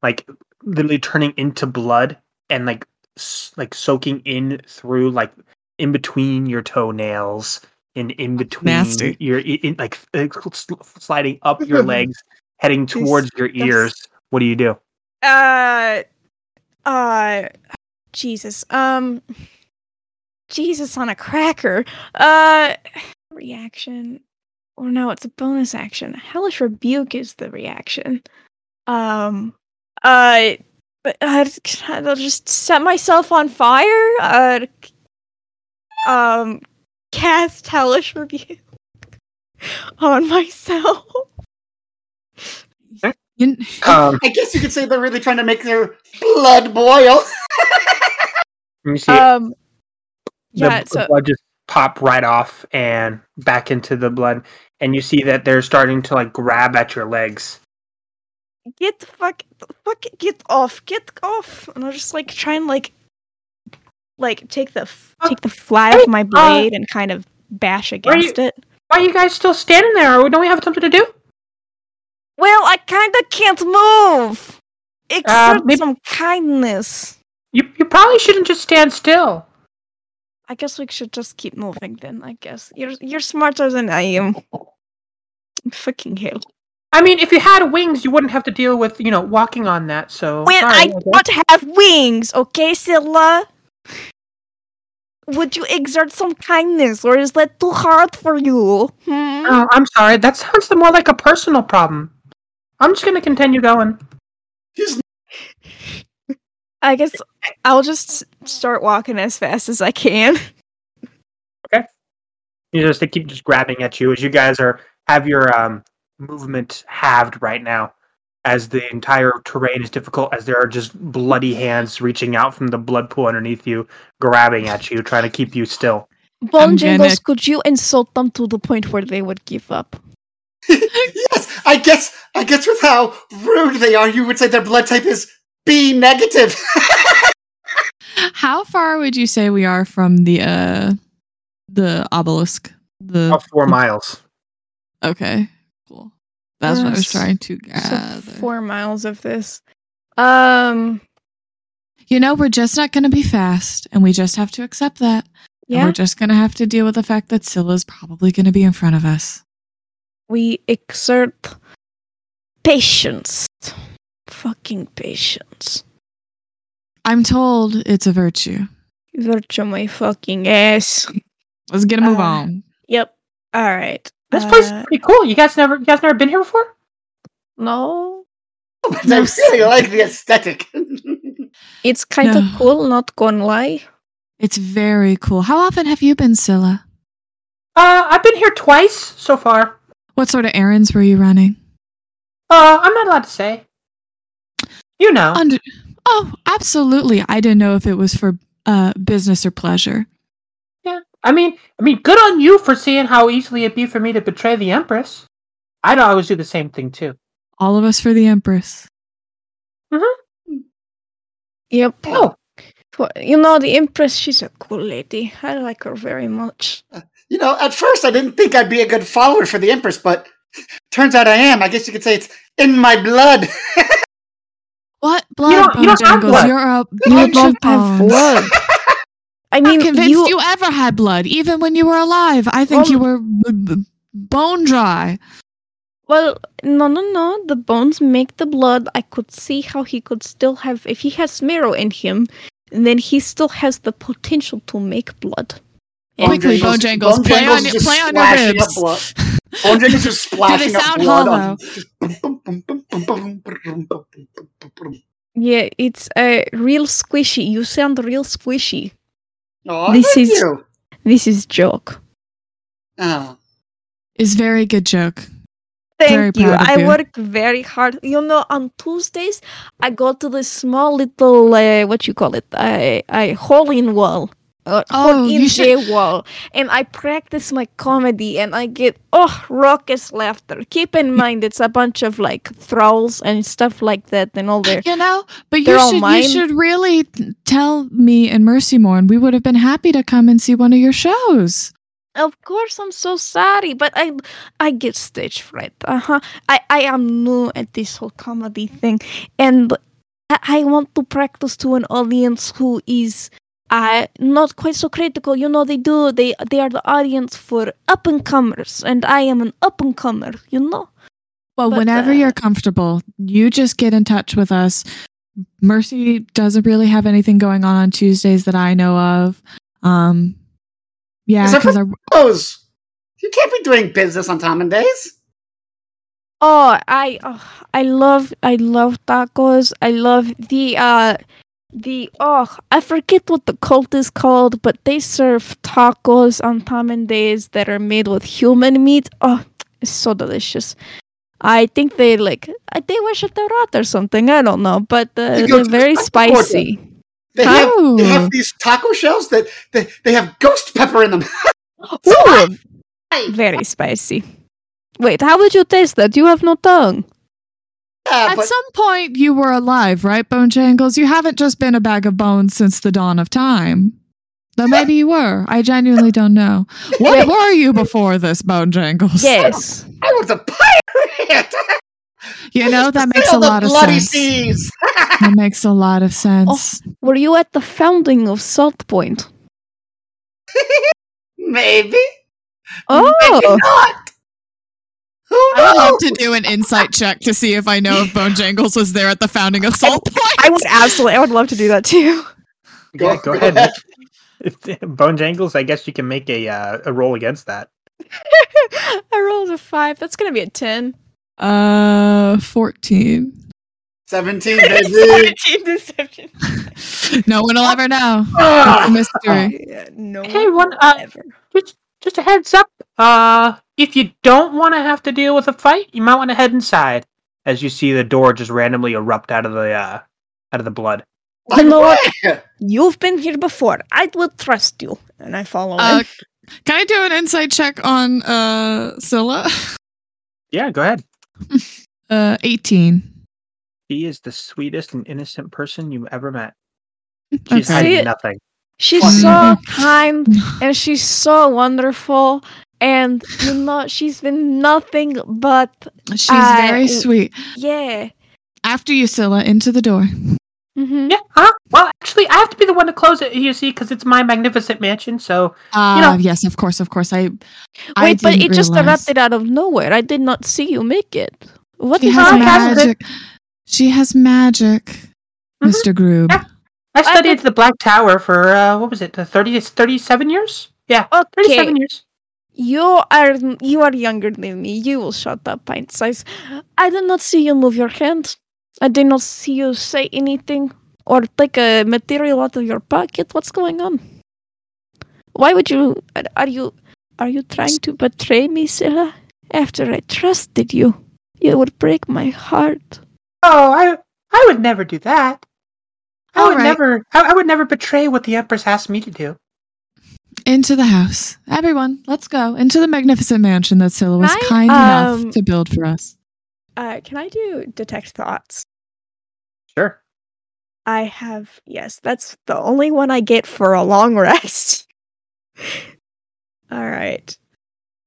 like literally turning into blood and like s- like soaking in through like in between your toenails and in between
Nasty.
your i- in, like sl- sl- sliding up your legs, heading towards your ears. What do you do?
Uh uh Jesus. Um Jesus on a cracker. Uh reaction. Or no, it's a bonus action. Hellish rebuke is the reaction. Um uh but I'd, I'll just set myself on fire. Uh um cast hellish rebuke on myself.
You-
Um,
I guess you could say they're really trying to make their blood boil.
let me see.
Um
the
yeah,
b-
so
blood just pop right off and back into the blood and you see that they're starting to like grab at your legs
get the fuck, fuck, get off, get off, and I'll just like try and like, like take the f- take the fly off my blade and kind of bash
are you-
against it.
why are you guys still standing there don't we have something to do
Well, I kind of can't move. Exert
maybe-
some kindness.
you, you probably shouldn't just stand still
I guess we should just keep moving then. I guess you're you're smarter than I am. Fucking hell.
i mean if you had wings you wouldn't have to deal with you know walking on that so
Well,
sorry,
I
guess.
don't have wings, okay, Silla? Would you exert some kindness, or is that too hard for you? Hmm?
Oh, i'm sorry that sounds more like a personal problem i'm just gonna continue going
Just-
I guess I'll just start walking as fast as I can.
you just they keep just grabbing at you as you guys are have your um, movement halved right now as the entire terrain is difficult as there are just bloody hands reaching out from the blood pool underneath you grabbing at you trying to keep you still
I'm
Bon
Jingles, gonna-
could you insult them to the point where they would give up?
yes, I guess. I guess with how rude they are, you would say their blood type is B negative.
How far would you say we are from the uh the obelisk? The
about four miles
okay, cool. That's what I was
Yes.
trying to
So
gather.
four miles of this. Um,
you know, we're just not going to be fast, and we just have to accept that. And we're just going to have to deal with the fact that Scylla's probably going to be in front of us.
we exert patience. Fucking patience.
I'm told it's a virtue.
Virtue my fucking ass.
Let's get a move
Uh,
on.
Yep. All right.
This place is
Uh,
pretty cool. You guys never you guys never been here before?
No,
I really like the aesthetic.
it's kind of
No.
cool. Not gonna lie.
It's very cool. How often have you been, Scylla?
Uh, I've been here twice so far.
What sort of errands were you running?
Uh, I'm not allowed to say. You
Uh.
know.
Uh,
Under- oh, absolutely. I didn't know if it was for uh, business or pleasure.
yeah. I mean, I mean, good on you for seeing how easily it'd be for me to betray the Empress. I'd always do the same thing too.
All of us for the Empress.
Yep.
Oh,
Well, You know the Empress. She's a cool lady. I like her very much.
you know, at first I didn't think I'd be a good follower for the Empress, but turns out I am. I guess you could say it's in my blood.
What blood?
don't- you
Bone
don't have
Jangles?
blood.
You're a
don't
you're both
have
bones.
I
I'm
mean,
not convinced
you,
you, ever had blood, even when you were alive. I think you were b- b- bone dry.
Well, no, no, no. The bones make the blood. I could see how he could still have, if he has marrow in him, then he still has the potential to make blood. And
Quickly,
Bone
Bojangles,
Jangles- Bone
play on
Jangles
it-
just
play on your
splashing up
ribs.
blood. Bone Jangles is splashing up
sound
blood.
hollow?
On, just boom, boom, boom, boom, boom, boom, boom, boom, boom, boom, boom.
Yeah, it's uh, real squishy. You sound real squishy.
Aw,
This is-
thank you.
This is joke.
Oh.
Is very good joke. Very
Thank you.
proud of
I
you.
work very hard. You know, on Tuesdays, I go to this small little uh, what you call it, I I hole in wall, or
Oh,
hole
you
in
should-
J wall, and I practice my comedy, and I get oh raucous laughter. Keep in mind, it's a bunch of like thralls and stuff like that, and all their
You know, but
They're
you
all
should you
mine.
should really t- tell me and Mercy more, and we would have been happy to come and see one of your shows.
Of course, I'm so sorry, but I I get stage fright. Uh huh. I I am new at this whole comedy thing, and I, I want to practice to an audience who is uh not quite so critical. You know, they do they they are the audience for up and comers, and I am an up and comer. You know.
Well,
But,
whenever
uh,
you're comfortable, you just get in touch with us. Mercy doesn't really have anything going on on Tuesdays that I know of. Um, yeah,
Except
because
for-
I
Rose, you can't be doing business on common days.
Oh, I oh, I love I love tacos. I love the uh the oh I forget what the cult is called, but they serve tacos on common days that are made with human meat. Oh, it's so delicious. I think they like I- they worship the rot or something. I don't know, but uh,
You go
they're
to
very
the taco hotel.
spicy.
They have, they
Oh.
have these taco shells that they, they have ghost pepper in them.
Ooh, very spicy. Wait, how would you taste that? You have no tongue.
Yeah,
At
but
some point, you were alive, right, Bone Jangles? You haven't just been a bag of bones since the dawn of time. Though maybe you were. I genuinely don't know. What were you before this, Bone Jangles?
Yes.
I was a pirate.
You know, that makes a
Sail the
lot of
bloody Oh.
sense.
seas.
That makes a lot of sense.
Were you at the founding of Salt Point?
Maybe. Maybe
Oh,
not. Who
I would love
knows?
to do an insight check to see if I know if Bone Jangles was there at the founding of Salt Point.
I would absolutely. I would love to do that too.
Yeah, go ahead. If- Bone jangles. I guess you can make a uh, a roll against that.
I rolled a five. That's gonna be a ten.
Uh, 14.
17, baby.
deception.
No one will ever know. It's a
Ah,
mystery.
no.
Hey, one, uh, Just just a heads up. Uh, if you don't want to have to deal with a fight, you might want to head inside. As you see the door just randomly erupt out of the uh, out of the blood.
like
know what?
where?
You've been here before. I will trust you. And I
Oh.
follow
Uh,
him.
can I do an insight check on uh, Scylla?
Yeah, go ahead.
Uh, 18.
She is the sweetest and innocent person you've ever met.
Okay.
She's hiding
See-
nothing.
fuck.
She's so kind and she's so wonderful. And you know, she's been nothing but
She's
Uh,
very
w-
sweet.
yeah. Mm-hmm.
After you, Scylla, into the door.
Yeah, huh? Well, actually, I have to be the one to close it, you see, because it's my magnificent mansion, so.
Ah,
You know-
yes, of course, of course. I wait,
Wait, but it just erupted out of nowhere. I did not see you make it. What
She
is
has
that?
magic. She has magic,
Mm-hmm.
Mr. Groob.
Yeah. I studied the Black Tower for, uh, what was it, the 30, 37 years? Yeah, 37
Okay,
years.
you are you are younger than me. You will shut up, pint size. I did not see you move your hand. I did not see you say anything or take a material out of your pocket. What's going on? Why would you? are- Are you? Are you trying to betray me, Sarah? After I trusted you, you would break my heart.
Oh, I I would never do that. I
All
would
right.
never I, I would never betray what the Empress asked me to do.
Into the house, everyone. Let's go into the magnificent mansion that Scylla was
Right?
kind
Um,
enough to build for us.
Uh, can I do detect thoughts?
Sure.
I have yes, that's the only one I get for a long rest. All right.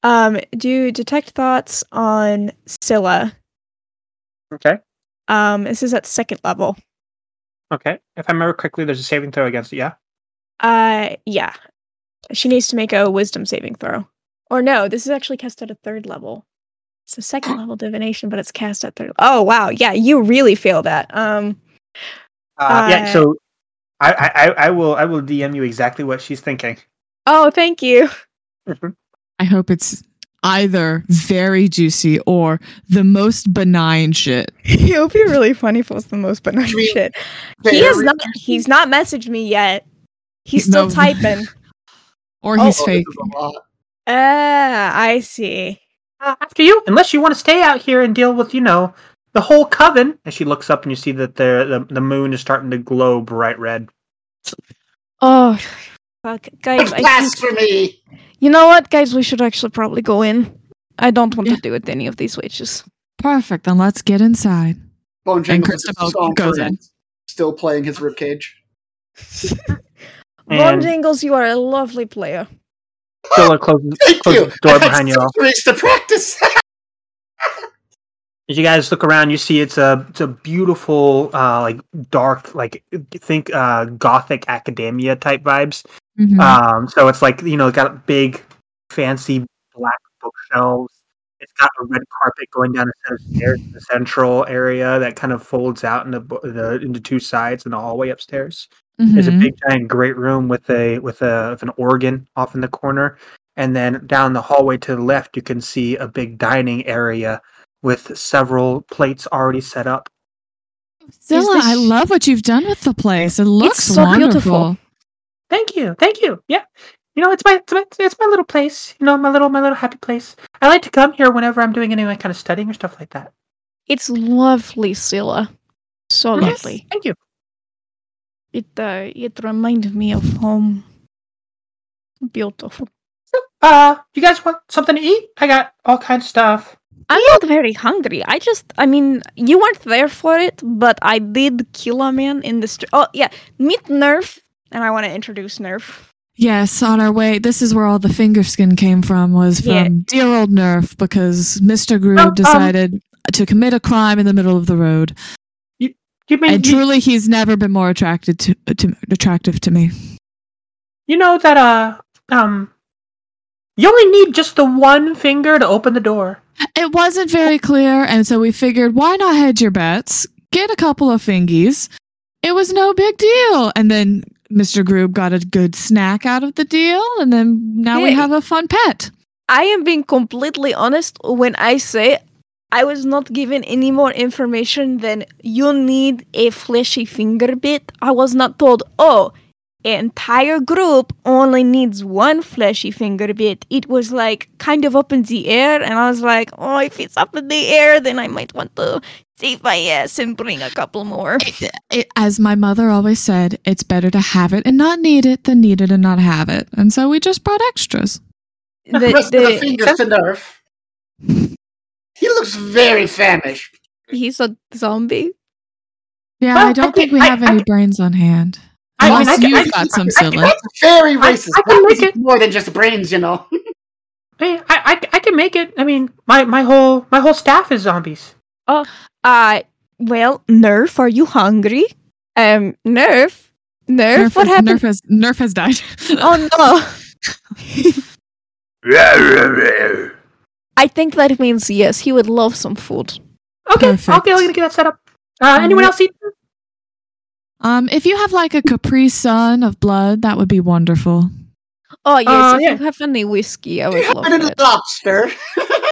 Um, do detect thoughts on Scylla.
Okay.
Um, this is at second level.
Okay. If I remember correctly, there's a saving throw against it, yeah?
Uh, yeah, she needs to make a Wisdom saving throw. Or no, this is actually cast at a third level. It's a second level divination, but it's cast at third. Oh wow, yeah, you really fail that. Um,
Uh, yeah,
Uh,
so I, I, I- I will I will DM you exactly what she's thinking.
oh thank you.
I hope it's either very juicy or the most benign shit.
it would be really funny if it was the most banana shit. He has not. He's not messaged me yet. He's still
No.
typing.
Or he's
oh,
fake.
This is a lot.
Ah, I see.
Uh, after you, unless you want to stay out here and deal with, you know, the whole coven. And she looks up and you see that the the, the moon is starting to glow bright red.
Oh, fuck, guys! I think-
Blasphemy!
You know what, guys? We should actually probably go in. I don't want to do with any of these witches.
Perfect. Then let's get inside.
Bone Jingle is
Christabel
song
goes
for him,
in.
Still playing his ribcage.
Von
And-
Jingles, you are a lovely player.
Scylla closes,
Thank
closes
you!
the door
I've had
behind you all.
centuries to practice!
As you guys look around, you see it's a it's a beautiful, uh, like dark, like think uh, gothic academia type vibes.
Mhm.
Ah,
Um, so it's like you know, it's got big, fancy black bookshelves. It's got a red carpet going down a set of stairs to the central area that kind of folds out into bo- the into two sides in the hallway upstairs. There's a
Mhm.
big giant great room with a with a with an organ off in the corner, and then down the hallway to the left you can see a big dining area with several plates already set up.
Zilla,
this-
I love what you've done with the place. It looks
so
wonderful.
beautiful.
Thank you, thank you. Yeah, you know it's my it's my, it's my little place. You know my little my little happy place. I like to come here whenever I'm doing any like kind of studying or stuff like that.
It's lovely, Scylla. So
Yes.
lovely.
Thank you.
It uh, it reminded me of home. Beautiful.
So, uh, you guys want something to eat? I got all kinds of stuff.
I'm not very hungry. I just, I mean, you weren't there for it, but I did kill a man in the street. Oh yeah, meet Nerf, and I want to introduce Nerf.
Yes, on our way. This is where all the finger skin came from. Was from
Yeah.
dear old Nerf because Mr. Groob
Oh, um,
decided to commit a crime in the middle of the road,
You mean
and
you,
truly, he's never been more attracted to, to attractive to me.
you know that uh um you only need just the one finger to open the door.
It wasn't very clear, and so we figured, why not hedge your bets? Get a couple of fingies. It was no big deal, and then Mr. Groob got a good snack out of the deal, and then now we
Hey.
have a fun pet.
I am being completely honest when I say I was not given any more information than you need a fleshy finger bit. I was not told, oh, entire group only needs one fleshy finger bit. It was like kind of up in the air, and I was like, oh, if it's up in the air, then I might want to save my ass and bring a couple more.
It, it, as my mother always said, it's better to have it and not need it than need it and not have it. And so we just brought extras.
The, rest of the fingers to nerf. He looks very famished.
he's a zombie.
Yeah,
Well,
I don't
I
think
think-
we
I-
have
I
any
can-
brains on hand.
I mean,
Unless
I can-
you've
I can-
got some
I can-
silly.
That's very
I-
racist.
I can
That
make
means
it.
More than just brains, you know.
Hey, I, I I can make it. I mean, my my whole my whole staff is zombies.
Uh, well, Nerf, are you hungry? Um, Nerf. Nerf,
Nerf
what
has,
happened?
Nerf has Nerf has died.
Oh no! I think that means yes, he would love some food.
Okay,
Okay,
Perfect.
okay, I'm gonna get that set up. Uh, anyone else eat?
Um, if you have like a Capri Sun of blood, that would be wonderful.
Oh yes,
Uh,
if
yeah.
you have any whiskey, I would love
I did a
it.
lobster.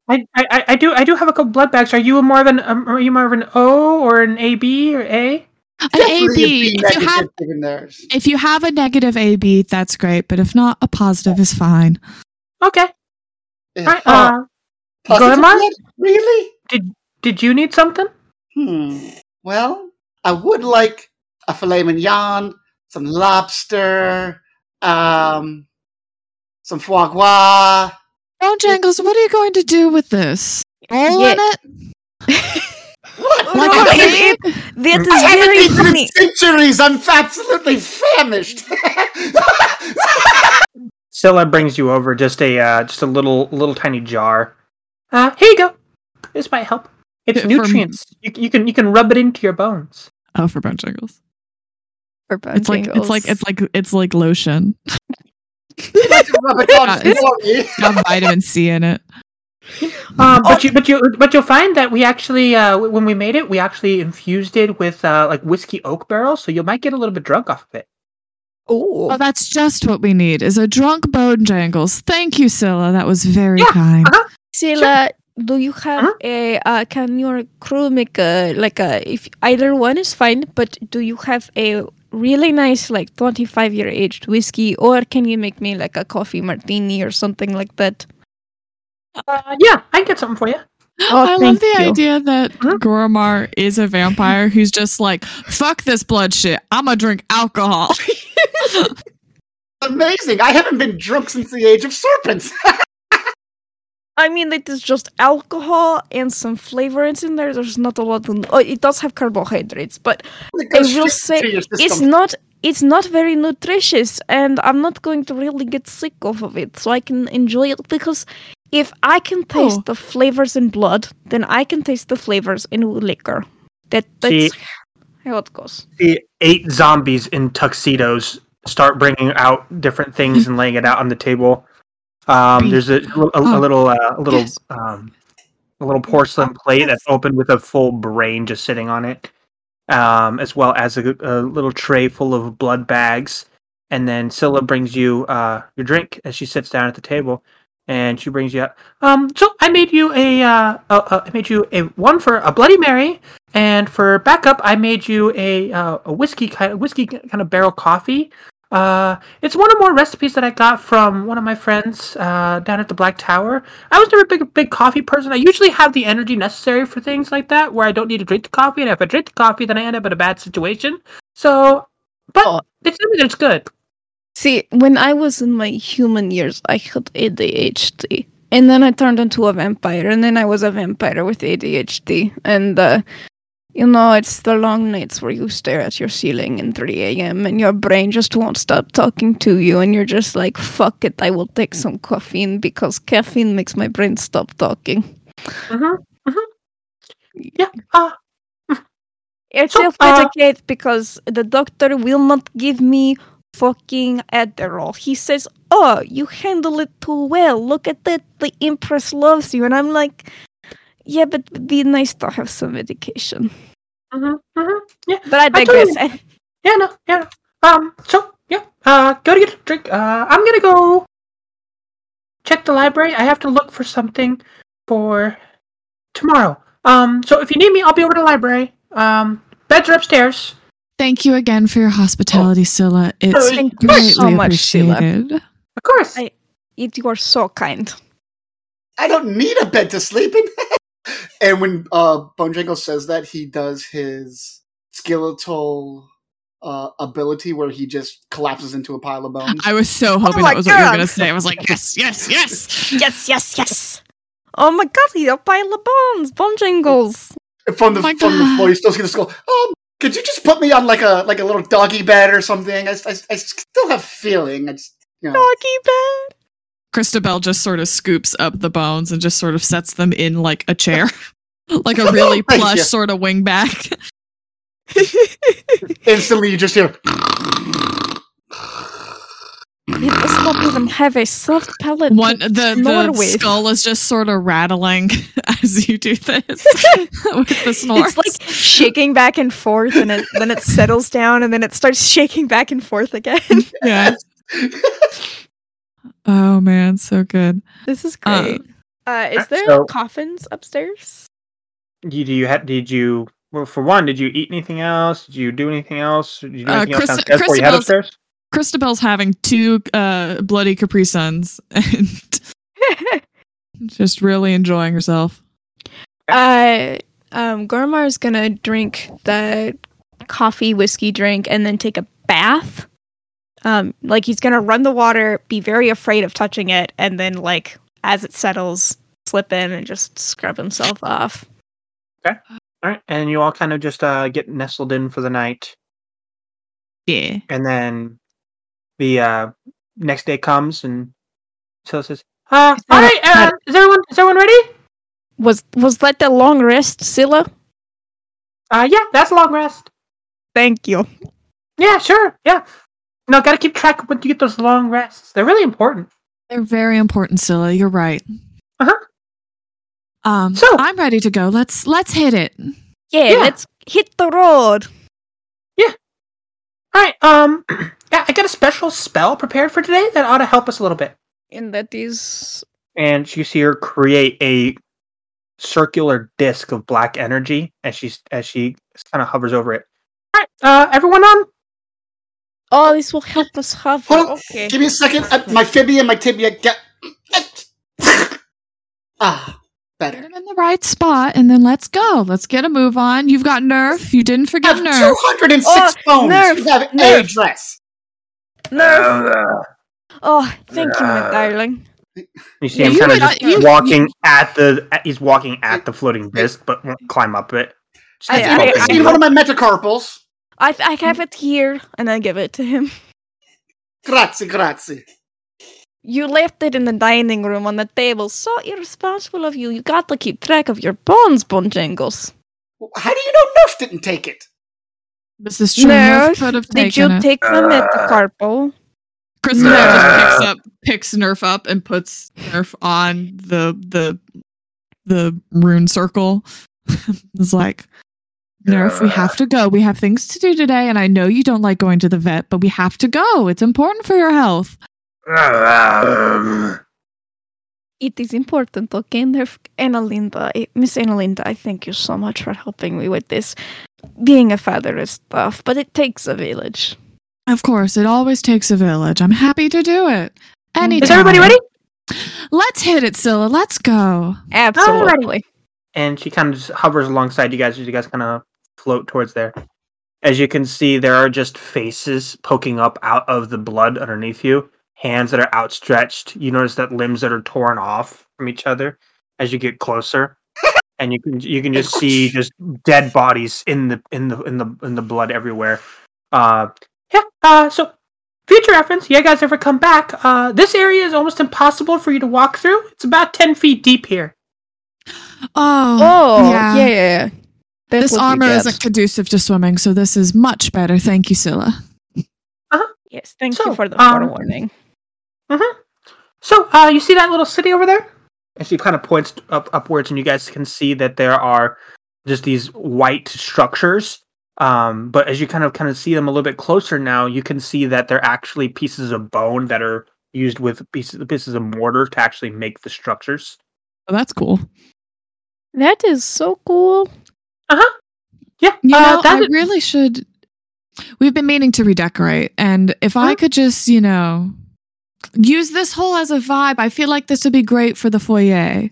I, I, I- I do I do have a couple blood bags. Are you more of an um, are you more of an O or an A B or A?
An
Definitely
AB.
a B
If you have
negative given theirs.
if you have a negative AB, that's great. But if not, a positive is fine.
Okay.
Yeah.
All right.
Oh,
Uh,
positive
Goemon?
blood? Really?
did you need something?
Hmm. Well, I would like a filet mignon, some lobster, um, some foie gras.
Oh, Jangles, what are you going to do with this? Roll in it?
What?
Like
Oh,
a
it-
plate?
That
I haven't
is very
eaten in
funny.
centuries. I'm absolutely famished.
Scylla brings you over just a uh, just a little little tiny jar.
Uh, here you go. This might help. It's
Yeah, for m-
nutrients. You, you can you can rub it into your bones.
Oh, for bone jangles.
For both
It's like it's like it's like it's like lotion.
Rub it on
Yeah,
glory.
It's got vitamin C in it. Oh.
Um, but you but you but you'll find that we actually uh, w- when we made it, we actually infused it with uh, like whiskey oak barrels, so you might get a little bit drunk off of it.
Oh, that's just what we need is a drunk bone jangles. Thank you, Scylla. That was very
Yeah,
kind.
uh-huh.
Sila, do you have
Huh?
a? Uh, can your crew make a like a? If either one is fine, but do you have a really nice like twenty-five year aged whiskey, or can you make me like a coffee martini or something like that?
Uh, yeah, I can get something for you.
Oh,
I love
thank
the
you.
idea that
Huh?
Goromar is a vampire who's just like, fuck this blood shit. I'm gonna drink alcohol.
Amazing. I haven't been drunk since the age of serpents.
I mean, it is just alcohol and some flavorings in there. There's not a lot. In, oh, it does have carbohydrates, but
It goes
will
straight
say
into your
it's
system.
not. It's not very nutritious, and I'm not going to really get sick off of it. So I can enjoy it because if I can taste
Oh.
the flavors in blood, then I can taste the flavors in liquor. That
See-
that's how it goes.
The eight zombies in tuxedos start bringing out different things and laying it out on the table. Um, there's a, a,
Oh.
a little uh, a little
Yes.
um, a little porcelain plate that's open with a full brain just sitting on it, um, as well as a, a little tray full of blood bags. And then Scylla brings you uh, your drink as she sits down at the table, and she brings you up.
Um, so I made you a uh, uh, uh, I made you a one for a Bloody Mary, and for backup, I made you a uh, a whiskey kind of whiskey kind of barrel coffee. Uh, it's one of more recipes that I got from one of my friends uh, down at the Black Tower. I was never a big big coffee person. I usually have the energy necessary for things like that, where I don't need to drink the coffee, and if I drink the coffee, then I end up in a bad situation. So, but
Oh.
it's it's good.
See, when I was in my human years, I had ADHD. And then I turned into a vampire, and then I was a vampire with ADHD. And, uh, you know, it's the long nights where you stare at your ceiling in 3 a.m. and your brain just won't stop talking to you, and you're just like, fuck it, I will take some caffeine because caffeine makes my brain stop talking.
hmm Yeah. Uh,
It's
So, uh,
self medicate because the doctor will not give me fucking Adderall. He says, Oh, you handle it too well. Look at that. The Empress loves you. And I'm like, Yeah, but it'd be nice to have some medication.
hmm hmm
But I
I
digress.
Yeah, no, yeah. No. Um, so yeah, uh, go to get a drink. Uh, I'm gonna go check the library. I have to look for something for tomorrow. Um, so if you need me, I'll be over to the library. Um, beds are upstairs.
Thank you again for your hospitality, Scylla. It's
Thank you
greatly
so much, Scylla.
appreciated.
Of course.
I- It, you are so kind.
I don't need a bed to sleep in. and when uh, Bonejangle says that, he does his skeletal uh, ability where he just collapses into a pile of bones.
I was so hoping
my
that was what you were
God.
gonna say. I was like, yes, yes, yes.
Yes, yes, yes.
Oh my god, he's a pile of bones, bone jingles.
from
Oh
the
my
from the
God.
floor, he's still gonna go. Um, could you just put me on like a like a little doggy bed or something? I, I, I still have feeling. I just, you know.
Doggy bed.
Christabel just sort of scoops up the bones and just sort of sets them in like a chair. like a really
Thank
plush
you.
sort of wingback.
Instantly, you just hear.
It does not even have a soft palate.
One
to
the, the
snore with.
skull is just sort of rattling as you do this with the snorts.
It's like shaking back and forth, and it, then it settles down, and then it starts shaking back and forth again.
yeah. oh man, so good.
this is
Uh,
great. Uh, is there
so-
coffins upstairs?
You, do you have? Did you? Well, for one, did you eat anything else? Did you do anything else? Did you do
Uh,
anything
Chris-
else downstairs before you head
Christabel's-
upstairs?
Christabel's having two uh, bloody Capri Suns and just really enjoying herself.
Uh, um, Gormar is gonna drink the coffee whiskey drink and then take a bath. Um, like he's gonna run the water, be very afraid of touching it, and then like as it settles, slip in and just scrub himself off.
All right, and you all kind of just uh, get nestled in for the night,
Yeah.
and then the uh, next day comes, and so says, uh,
Is
"All
there a-
right, uh, is everyone is everyone ready?
Was was that the long rest, Scylla?
Uh, yeah, that's a long rest.
Thank you.
Yeah, sure, yeah. No, gotta keep track of when you get those long rests. They're really important.
They're very important, Scylla. You're right.
Uh-huh.
Um,
So-
I'm ready to go. Let's let's hit it.
Yeah,
Yeah.
let's hit the road.
All right, um, yeah, I got a special spell prepared for today that ought to help us a little bit."
And that is.
and you see her create a circular disc of black energy as she's as she kind of hovers over it. All right, uh, everyone on.
Oh, this will help us have.
Hold on,
Okay.
Give me a second. Uh, my fibia and my tibia get. ah,
Get
better.
him in the right spot, and then let's go. Let's get a move on. You've got Nerf. You didn't
I
forget
have
Nerf.
206
Oh,
phones.
nerve,
you have a
nerve.
dress.
Nerf!
Uh,
Oh, thank you, my
Uh,
darling.
You see
Yeah,
him
you
kind of
would-
just
uh, you-
walking at the. at- he's walking at the floating disc, but won't climb up it. Just
I-
keeps
I-
I've
bumping
I-
seen
into it.
one of my metacarpals.
I, I have it here, and I give it to him.
Grazie, grazie.
You left it in the dining room on the table. So irresponsible of you. You got to keep track of your bones, Bonjangles.
How do you know Nerf didn't take it?
This is true. Nerf could
Nerf,
have
did
taken
you
it.
take the
Uh,
metacarpal?
Christabel
Nerf.
just picks up picks Nerf up and puts Nerf on the the the rune circle. It's like Nerf, we have to go. We have things to do today, and I know you don't like going to the vet, but we have to go. It's important for your health.
um,
It is important, okay, Nerf? Analinda, eh, Miss Analinda, I thank you so much for helping me with this. Being a father is tough, but it takes a village.
Of course, it always takes a village. I'm happy to do it. Anytime.
Is everybody ready?
Let's hit it, Scylla. Let's go.
Absolutely.
and she kind of just hovers alongside you guys as you guys kind of float towards there. As you can see, there are just faces poking up out of the blood underneath you, hands that are outstretched. You notice that limbs that are torn off from each other as you get closer, and you can you can just see just dead bodies in the in the in the in the blood everywhere. Uh, yeah. Uh, so future reference, you guys ever come back? Uh, this area is almost impossible for you to walk through. It's about ten feet deep here.
Oh,
Oh, yeah. yeah, yeah. That's
This
what we
armor
get.
isn't conducive to swimming, so this is much better. Thank you, Scylla.
Yes, thank
So,
you for the
um,
forewarning.
So, uh, you see that little city over there? And she kind of points up upwards, and you guys can see that there are just these white structures. Um, but as you kind of kind of see them a little bit closer now, you can see that they're actually pieces of bone that are used with pieces pieces of mortar to actually make the structures.
Oh, that's cool.
That is so cool.
Yeah,
You
uh,
know,
that
I
is-
really should. We've been meaning to redecorate, and if I
Huh?
could just, you know, use this hole as a vibe, I feel like this would be great for the foyer.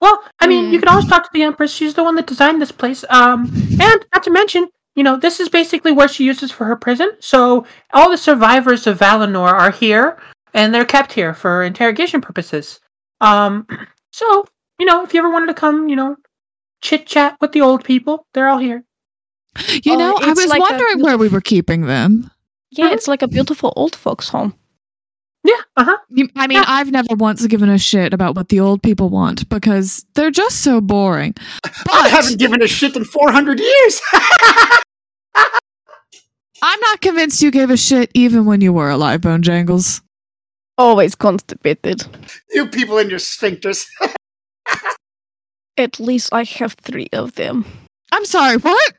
Well, I mean, you
Mm.
can always talk to the Empress. She's the one that designed this place. Um, and not to mention, you know, this is basically where she uses for her prison. So all the survivors of Valinor are here, and they're kept here for interrogation purposes. Um, so you know, if you ever wanted to come, you know, chit chat with the old people, they're all here.
You
Oh,
know, I
it's
was
like a
wondering where we were keeping them.
Yeah, it's like a beautiful old folks' home.
Yeah, uh huh.
You, I mean, I've never once given a shit about what the old people want because they're just so boring.
I haven't given a shit in 400 years.
I'm not convinced you gave a shit even when you were alive, Bone Jangles.
Always constipated.
you people and your sphincters.
At least I have three of them.
I'm sorry, what?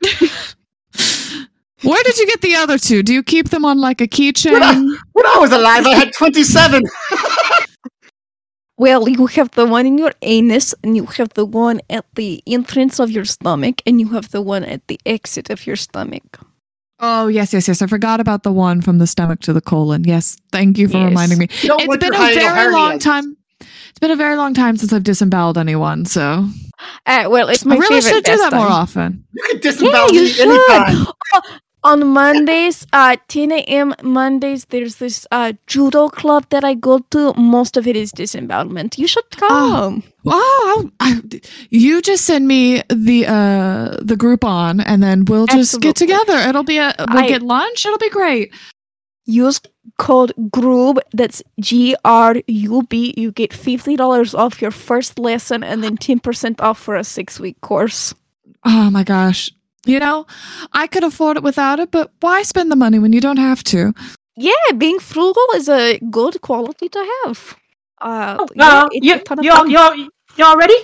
Where did you get the other two? Do you keep them on like a keychain?
when I was alive, I had 27.
Well, you have the one in your anus, and you have the one at the entrance of your stomach, and you have the one at the exit of your stomach.
Oh, yes, yes, yes. I forgot about the one from the stomach to the colon. Yes. Thank you for
Yes.
reminding me.
You don't
it's
want
been
your
a
hiatal
very long
hernias.
time. It's been a very long time since I've disemboweled anyone, so
Uh, well, it's my
I really
favorite
should do that more
pastime.
often.
You can disembowel
you
me anytime.
On Mondays at 10 a.m. Mondays, there's this uh, judo club that I go to. Most of it is disembowelment. You should come.
Oh, I, I, you just send me the uh the Groupon, and then we'll just get
Absolutely.
together. It'll be a we'll
I-
get lunch. It'll be great.
Use code GRUB. That's G R U B. You get $50 off your first lesson and then 10% off for a six week course.
Oh my gosh. You know, I could afford it without it, but why spend the money when you don't have to?
Yeah, being frugal is a good quality to have. Uh,
Oh,
Uh,
it's
you,
a ton of
you, all,
fun.
you, all, you all ready?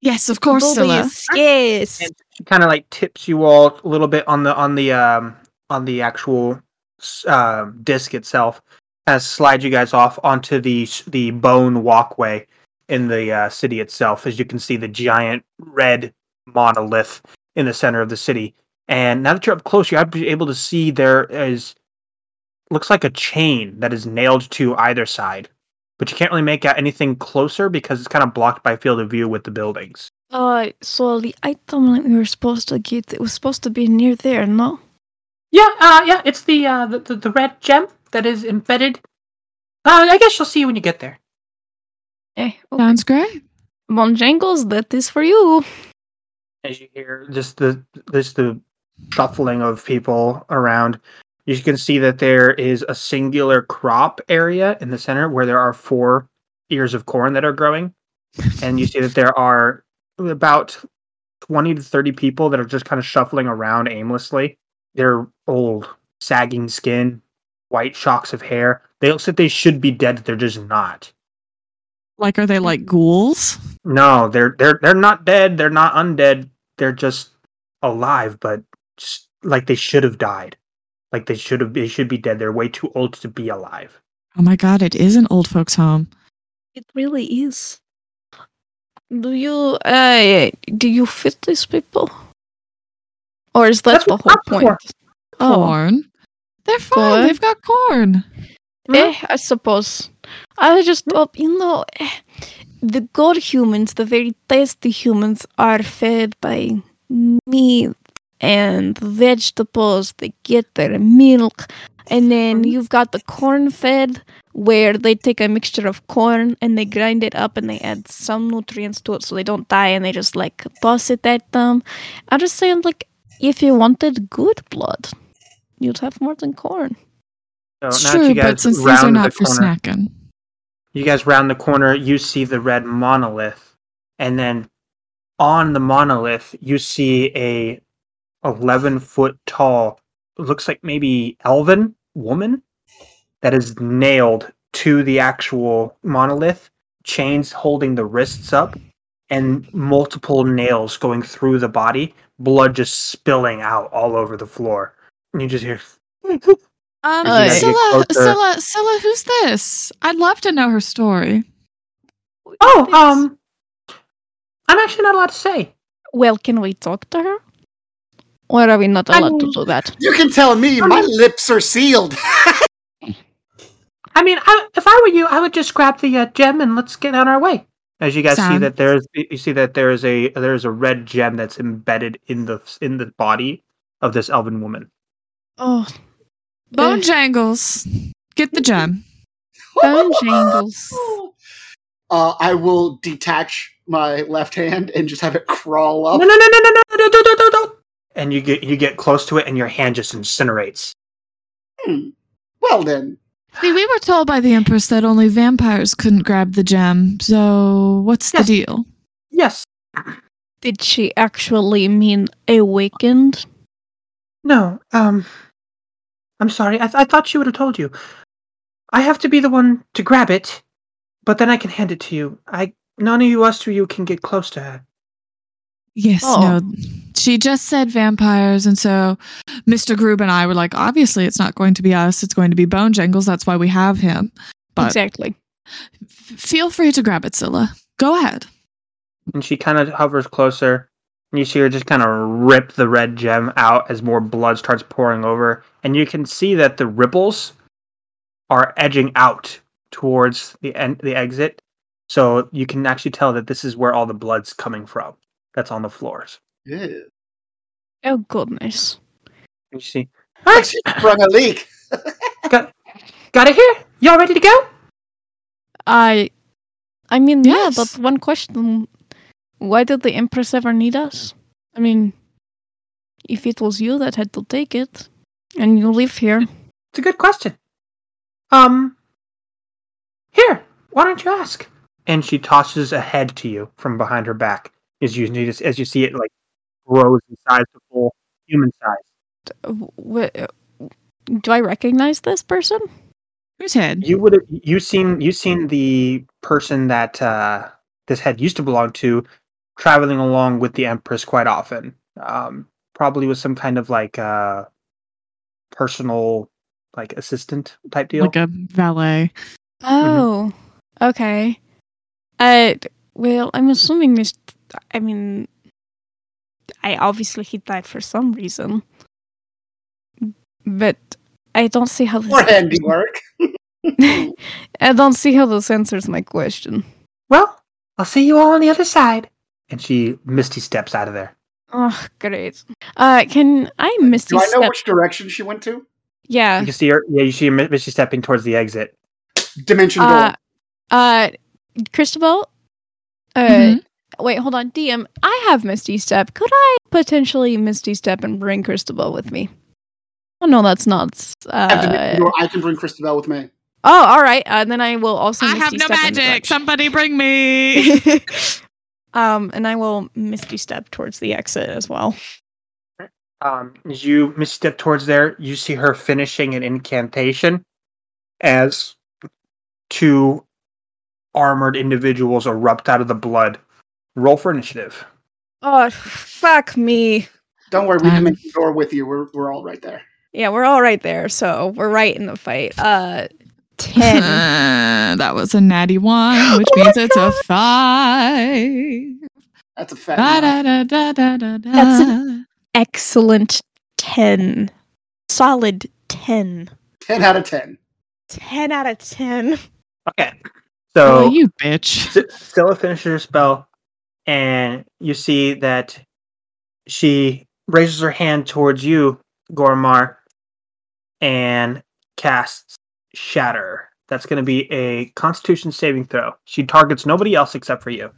Yes, of course, Scylla.
Bullies, Yes.
She kind of like tips you all a little bit on the on the um on the actual s- uh, disc itself, as slide you guys off onto the s- the bone walkway in the uh, city itself. As you can see, the giant red monolith in the center of the city. And now that you're up close, you're ab- able to see there is looks like a chain that is nailed to either side, but you can't really make out anything closer because it's kind of blocked by field of view with the buildings.
Uh, so the item that we were supposed to get, it was supposed to be near there, no?
Yeah, uh, yeah, it's the, uh, the, the the red gem that is embedded. Uh, I guess you'll see when you get there.
Eh, okay.
Sounds great.
Monjangles, that is for you.
As you hear just the just the shuffling of people around, you can see that there is a singular crop area in the center where there are four ears of corn that are growing, and you see that there are about twenty to thirty people that are just kind of shuffling around aimlessly. They're old, sagging skin, white shocks of hair. They look like they should be dead. They're just not.
Like, are they like ghouls?
No, they're they're they're not dead. They're not undead. They're just alive, but just like they should have died. Like they should have. They should be dead. They're way too old to be alive.
Oh my god, it is an old folks' home.
It really is. Do you, uh, do you fit these people? Or is that
That's
the
what
whole
I'm for.
point? Oh,
Corn. They're fine.
Corn?
They've got corn.
Hmm?
eh, I suppose. I just thought, you know, eh, the good humans, the very tasty humans, are fed by meat and vegetables. They get their milk. And then you've got the corn fed, where they take a mixture of corn and they grind it up and they add some nutrients to it so they don't die and they just like toss it at them. I'm just saying, like, if you wanted good blood, you'd have more than corn.
So
It's
now that
true,
you guys
but since these
round
are
the
not for
corner,
snacking.
you guys round the corner. You see the red monolith, and then on the monolith, you see a eleven foot tall, looks like maybe elven woman that is nailed to the actual monolith, chains holding the wrists up, and multiple nails going through the body, blood just spilling out all over the floor. And you just hear
Um,
Uh,
As
you
Scylla,
get closer-
Scylla, Scylla, who's this? I'd love to know her story.
Oh, um I'm actually not allowed to say.
Well, can we talk to her? Or are we not
I
allowed to
mean-
do that?
You can tell me my lips are sealed.
I mean, I, if I were you, I would just grab the uh, gem and let's get on our way. As you guys see
Sound.
that there's, you see that there is a there is a red gem that's embedded in the in the body of this elven woman.
Oh,
Bone Jangles. Get the gem.
bone jangles.
Uh, I will detach my left hand and just have it crawl
No,
up.
no, no, no, no, no, no, no, no, no, no. And you get you get close to it, and your hand just incinerates.
Hmm. Well then,
See, we were told by the Empress that only vampires couldn't grab the gem, so what's the deal?
Yes.
Did she actually mean awakened?
No. Um. I'm sorry. I, th- I thought she would have told you. I have to be the one to grab it, but then I can hand it to you. I none of you us two you can get close to her.
Yes,
Oh.
no. She just said vampires, and so Mr. Groob and I were like, obviously, it's not going to be us. It's going to be Bone Jangles. That's why we have him. But
exactly.
f- feel free to grab it, Scylla. Go ahead.
and she kind of hovers closer and you see her just kind of rip the red gem out as more blood starts pouring over and you can see that the ripples are edging out towards the end the exit so you can actually tell that this is where all the blood's coming from that's on the floors
Yeah.
Oh goodness.
and you see
Like she sprung a leak.
got got it here y'all ready to go
I I mean
Yes.
yeah, but one question why did the Empress ever need us? I mean if it was you that had to take it and you live here.
it's a good question um here why don't you ask and she tosses a head to you from behind her back as you notice as you see it like grows in size to full human size.
W- do I recognize this person?
Who's head?
You would have you seen you seen the person that uh, this head used to belong to traveling along with the Empress quite often. Um, probably with some kind of like uh, personal like assistant type deal.
Like a valet.
Mm-hmm.
Oh, okay. Uh, d- well, I'm assuming this. I mean, I obviously he died for some reason, but I don't see how this.
More handiwork.
I don't see how this answers my question.
well, I'll see you all on the other side. And she misty steps out of there.
Oh, great. Uh, can I miss
Do
this
I know
step?
which direction she went to?
yeah.
Uh.
You see her yeah, you see her mi- misty stepping towards the exit.
Dimension door.
Uh, uh, Cristobal. Uh,
Mhm.
wait, hold on. DM, I have Misty Step. Could I potentially Misty Step and bring Cristobal with me? Oh no, that's not. s-
At dimension
Uh,
door, I can bring Christabel with me.
oh, all right. Uh, then I will also.
I have
Misty
no
Step in the
magic.
direction.
Somebody bring me.
um, and I will Misty Step towards the exit as well.
Um, as you misstep towards there, you see her finishing an incantation as two armored individuals erupt out of the blood. Roll for initiative.
Oh, fuck me.
Don't worry, we
uh,
Um,
can make the door with you. We're, we're all right there.
Yeah, we're all right there, so we're right in the fight. Uh, ten.
Uh, that was a natty one, which
Oh my
means it's a five.
That's a fat.
Da,
nine.
da, da, da, da, da, da.
That's Excellent ten, solid ten.
Ten out of ten.
ten out of ten.
Okay.
Oh,
So
you bitch.
S- Stella finishes her spell, and you see that she raises her hand towards you, Gormar, and casts Shatter. That's going to be a Constitution saving throw. She targets nobody else except for you.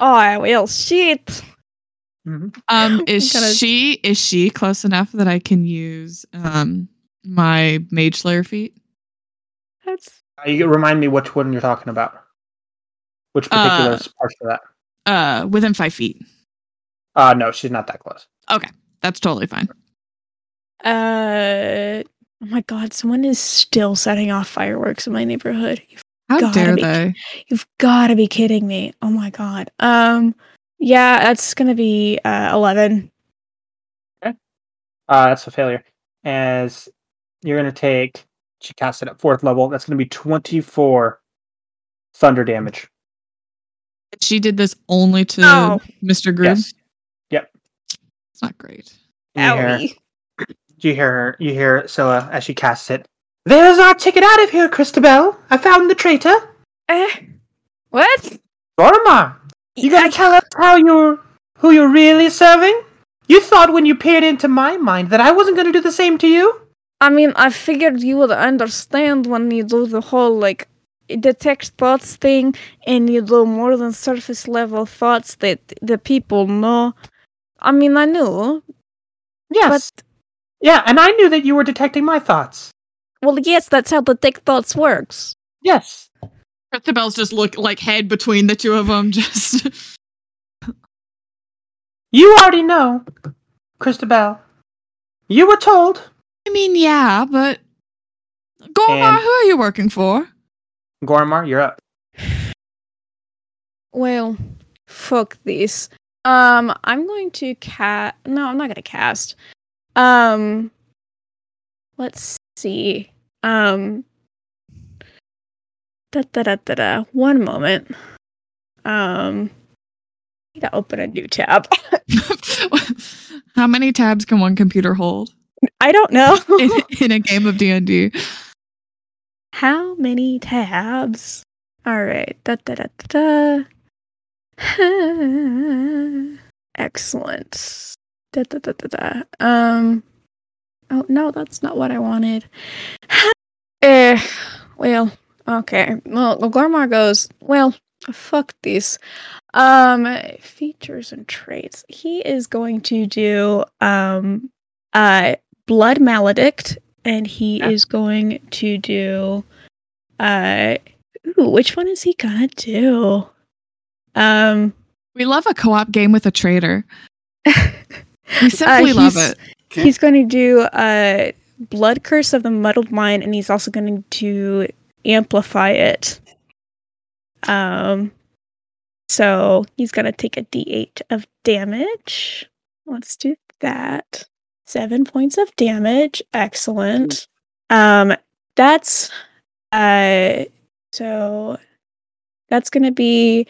Oh, I will shit.
Um, is
Kinda-
she is she close enough that I can use um my mage slayer feat?
That's
Uh, You remind me which one you're talking about. Which particular
Uh,
parts of that?
Uh, within five feet.
Uh no, she's not that close.
That's totally fine.
Uh, oh my god, someone is still setting off fireworks in my neighborhood. You've,
How
Gotta
dare
be-
they?
you've got to be kidding me. Oh my god. Um, yeah, that's gonna be uh eleven.
Uh that's a failure. As you're gonna take she casts it at fourth level, that's gonna be twenty-four thunder damage.
She did this only to
Oh.
Mr. Groob.
Yes.
It's not great.
You hear,
Owie.
you hear her you hear Scylla as she casts it. There's our ticket out of here, Christabel. I found the traitor.
Eh, what?
Gormar. You gotta tell us how you're who you're really serving? You thought when you peered into my mind that I wasn't gonna do the same to you?
I mean, I figured you would understand when you do the whole like detect thoughts thing and you do more than surface level thoughts that the people know. I mean, I knew,
Yes.
but
Yeah, and I knew that you were detecting my thoughts.
Well, yes, that's how the thick thoughts works.
Yes.
Christabel's just look like head between the two of them. Just
You already know, Christabel. You were told.
I mean, yeah, but Gormar,
And-
who are you working for?
Gormar, you're up.
Well, fuck this. Um, I'm going to cast. No, I'm not going to cast. Um, let's see. Um, da da da da da. One moment. Um, I need to open a new tab.
How many tabs can one computer hold
I don't know.
in, in a game of D and D?
How many tabs? All right. Da da da da da. Excellent. Da da da da da. Um. Oh no, that's not what I wanted. eh. Well. Okay. Well, Gormar goes. Well, fuck this. Um. Features and traits. He is going to do. Um. Uh. Blood maledict, and he
Yeah.
is going to do. Uh. Ooh, which one is he gonna do? Um.
We love a co-op game with a traitor. We simply
Uh,
love
he's-
it.
Okay.
He's going to do uh, Blood Curse of the Muddled Mind, and he's also going to amplify it. Um, so he's going to take a d8 of damage. Let's do that. Seven points of damage. Excellent. Um, that's uh, so that's going to be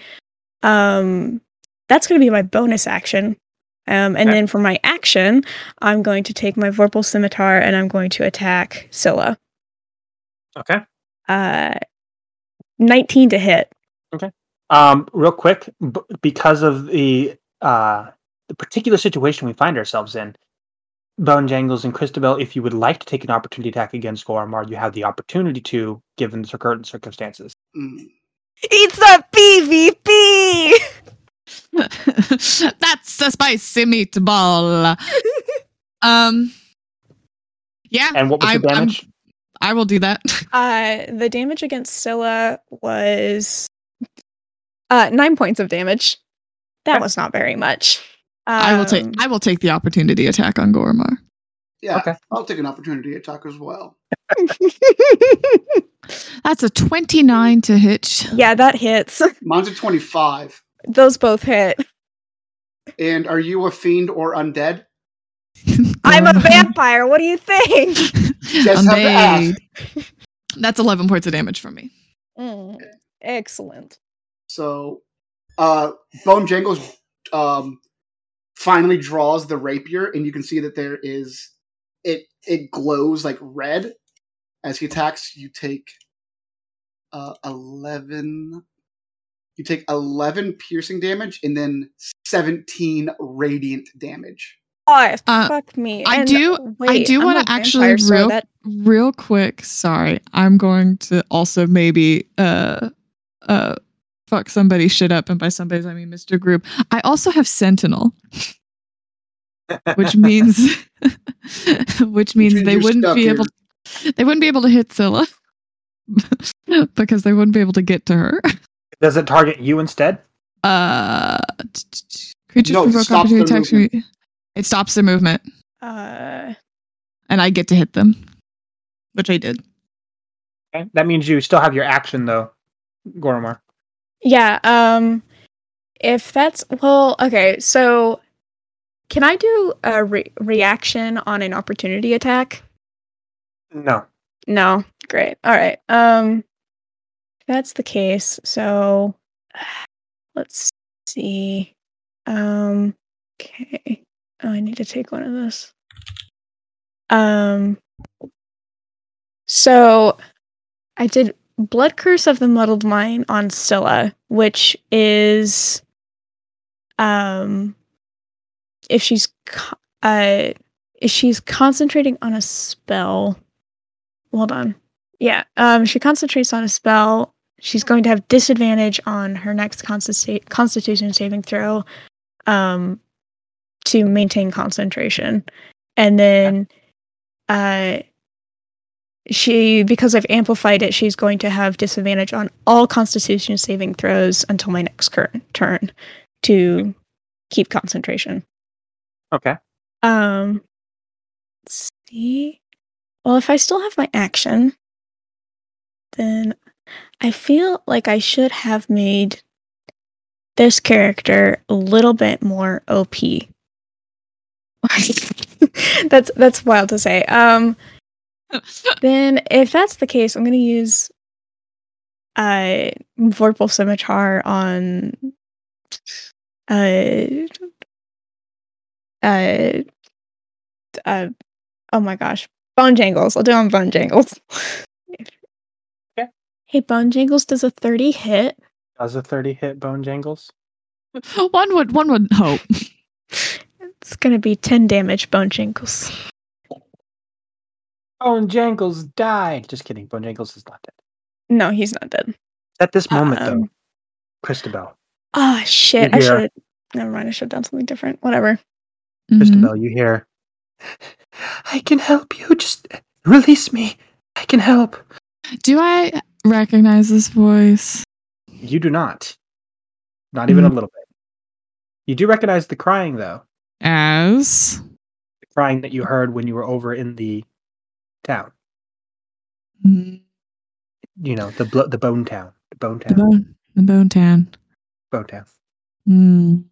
um, that's going to be my bonus action. Um, and
Okay.
then for my action, I'm going to take my Vorpal Scimitar and I'm going to attack Scylla.
Okay.
Uh, 19 to hit.
Um, real quick, b- because of the uh, the particular situation we find ourselves in, Bone Jangles and Christabel, if you would like to take an opportunity attack against Gormar, you have the opportunity to, given the cir- current circumstances.
Mm.
It's a PvP!
That's a spicy meatball. um, yeah,
And what was
I'm-
the
I'm-
damage?
I will do that.
Uh, the damage against Scylla was uh, nine points of damage. That was not very much.
I will take.
Um,
I will take the opportunity attack on Gormar.
Yeah,
Okay.
I'll take an opportunity attack as well.
That's a twenty-nine to hit.
yeah, that hits.
Mine's a 25.
Those both hit.
And are you a fiend or undead?
I'm a vampire. What do you think?
Just have to ask.
Unbathed. That's eleven points of damage from me.
Mm, excellent.
So, uh, Bone Jangles um, finally draws the rapier, and you can see that there is it. It glows like red as he attacks. You take uh, eleven. You take eleven piercing damage, and then seventeen radiant damage.
Oh,
Uh,
fuck me.
I
And
do- I
wait,
do
I'm a
wanna actually
vampire, so
real-
that
Real quick, sorry. I'm going to also maybe uh uh fuck somebody's shit up, and by somebody's I mean Mr. Group. I also have Sentinel, which means which means
means
they
you're
wouldn't
stuck
be
here.
able they wouldn't be able to hit Scylla because they wouldn't be able to get to her.
Does it target you instead?
Uh, t- t- t- creatures
No, it
provoke
stops
opportunity
their
attacks. from you- It stops their movement,
Uh,
and I get to hit them, which I did.
Okay. That means you still have your action, though, Gormar.
yeah. Um, if that's well, okay. So, can I do a re- reaction on an opportunity attack?
No.
No. Great. All right. Um, if that's the case. So, let's see. Um, okay. Oh, I need to take one of those. Um, so I did Blood Curse of the Muddled Mind on Scylla, which is, um, if she's, co- uh, if she's concentrating on a spell, hold on. Yeah. Um, she concentrates on a spell. She's going to have disadvantage on her next consti- constitution saving throw um, to maintain concentration. And then uh,
she because I've amplified it, she's going to have disadvantage on all Constitution saving throws until my next cur- turn to keep concentration.
Okay.
Um, let's see. Well, if I still have my action, then I feel like I should have made this character a little bit more OP. that's that's wild to say. Um, then if that's the case, I'm gonna use uh Vorpal Scimitar on uh uh uh oh my gosh. Bone Jangles. I'll do it on Bone Jangles.
Okay.
Hey Bone Jangles does a 30 hit.
Does a 30 hit bone jangles?
one would one would hope.
It's gonna be 10 damage, Bone Jangles.
Bone jangles died. Just kidding. Bone jangles is not dead.
No, he's not dead.
At this moment, though,
Um,
Christabel,
Oh shit. I
Yeah.
should have never mind, I should have done something different. Whatever.
Mm-hmm.
Mhm.
Christabel, you hear, I can help you. Just release me. I can help.
Do I recognize this voice?
You do not. Not even
Mm-hmm.
Mm.
a little bit. You do recognize the crying, though.
As
The crying that you heard when you were over in the town.
mm,
You know, the blo- the bone town. The bone
the
town.
Mm-hmm.
bone the bone tan.
Bone town.
Mm.